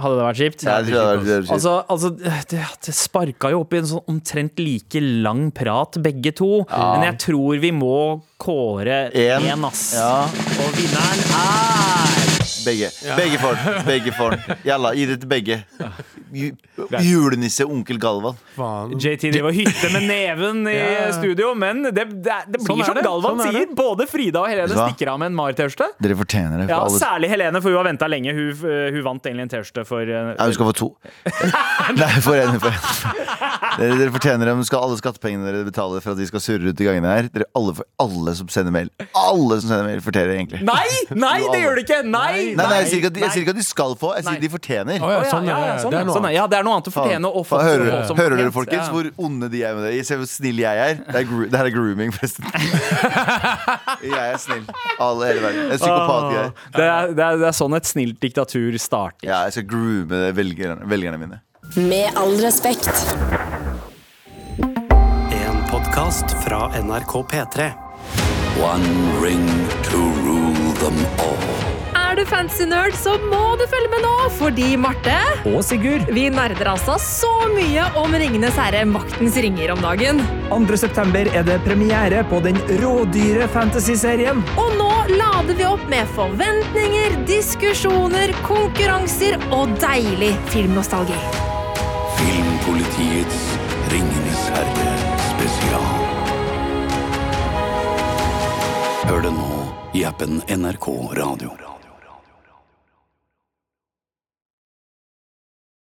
Speaker 2: Hadde det vært kjipt?
Speaker 4: Jeg tror det hadde vært kjipt.
Speaker 2: Altså, altså det, det sparka jo opp i en sånn omtrent like lang prat, begge to. Men jeg tror vi må kåre
Speaker 4: En.
Speaker 2: én, ass.
Speaker 4: Ja,
Speaker 2: Og vinneren er
Speaker 4: begge. Begge får den. Begge får den. Jalla, gi det til begge. Ju- Julenisse onkel Galvan.
Speaker 3: Faen.
Speaker 2: JT driver og hytter med neven i
Speaker 3: Ja.
Speaker 2: studio, men det, det, er- det blir
Speaker 3: Sånn er
Speaker 2: som
Speaker 3: det.
Speaker 2: Galvan
Speaker 3: Sånn er
Speaker 2: sier.
Speaker 3: det.
Speaker 2: Både Frida og Helene
Speaker 4: Hva?
Speaker 2: stikker av med en Mar-T-skjorte.
Speaker 4: Dere fortjener det. For
Speaker 2: Ja,
Speaker 4: alle.
Speaker 2: Særlig Helene, for hun har venta lenge. Hun, eh, hun vant egentlig en T-skjorte for eh,
Speaker 4: Nei, du skal få to. Nei, for en. For en. Dere, dere fortjener dem. Skal alle skattepengene dere betaler for at de skal surre ut i gangene her. Dere alle, for, alle som sender mail. Alle som sender mail, fortjener egentlig.
Speaker 2: Nei! Nei, det
Speaker 4: Jo, alle.
Speaker 2: gjør det ikke! Nei!
Speaker 4: Nei, nei, jeg sier ikke at de, jeg
Speaker 2: nei.
Speaker 4: sier ikke at de skal få, jeg
Speaker 2: Nei.
Speaker 4: sier de fortjener.
Speaker 3: Å
Speaker 2: Å
Speaker 3: ja,
Speaker 2: ja,
Speaker 3: sånn,
Speaker 2: ja,
Speaker 3: ja,
Speaker 2: ja, sånn,
Speaker 3: det
Speaker 2: ja,
Speaker 3: er noe
Speaker 2: sånn, ja, det er noe annet å
Speaker 4: Faen,
Speaker 2: fortjene. Og
Speaker 4: faen,
Speaker 2: få-
Speaker 4: hører,
Speaker 2: få
Speaker 4: dere-
Speaker 2: som
Speaker 4: hører dere,
Speaker 2: fortjent.
Speaker 4: folkens,
Speaker 2: Ja.
Speaker 4: hvor onde de er med det? Jeg ser hvor snill jeg er. Det, er gro det her er grooming, forresten. Jeg er snill. Alle hele verden. Jeg er psykopat, jeg. er.
Speaker 2: Det er, det, er, det er sånn et snilt diktatur starter.
Speaker 4: Ja, jeg skal groome det, velgerne, velgerne mine.
Speaker 6: Med all respekt.
Speaker 11: En podkast fra NRK P3.
Speaker 7: One ring to rule them all.
Speaker 12: Er du fancy nerd, så må du følge med nå, fordi Marte
Speaker 2: Og Sigurd,
Speaker 12: Vi nerder altså så mye om Ringenes herre, maktens ringer, om dagen.
Speaker 2: 2. september er det premiere på den rådyre fantasy-serien.
Speaker 12: Og nå lader vi opp med forventninger, diskusjoner, konkurranser og deilig filmnostalgi.
Speaker 7: Filmpolitiets Ringenes herre spesial. Hør det nå i appen NRK Radio.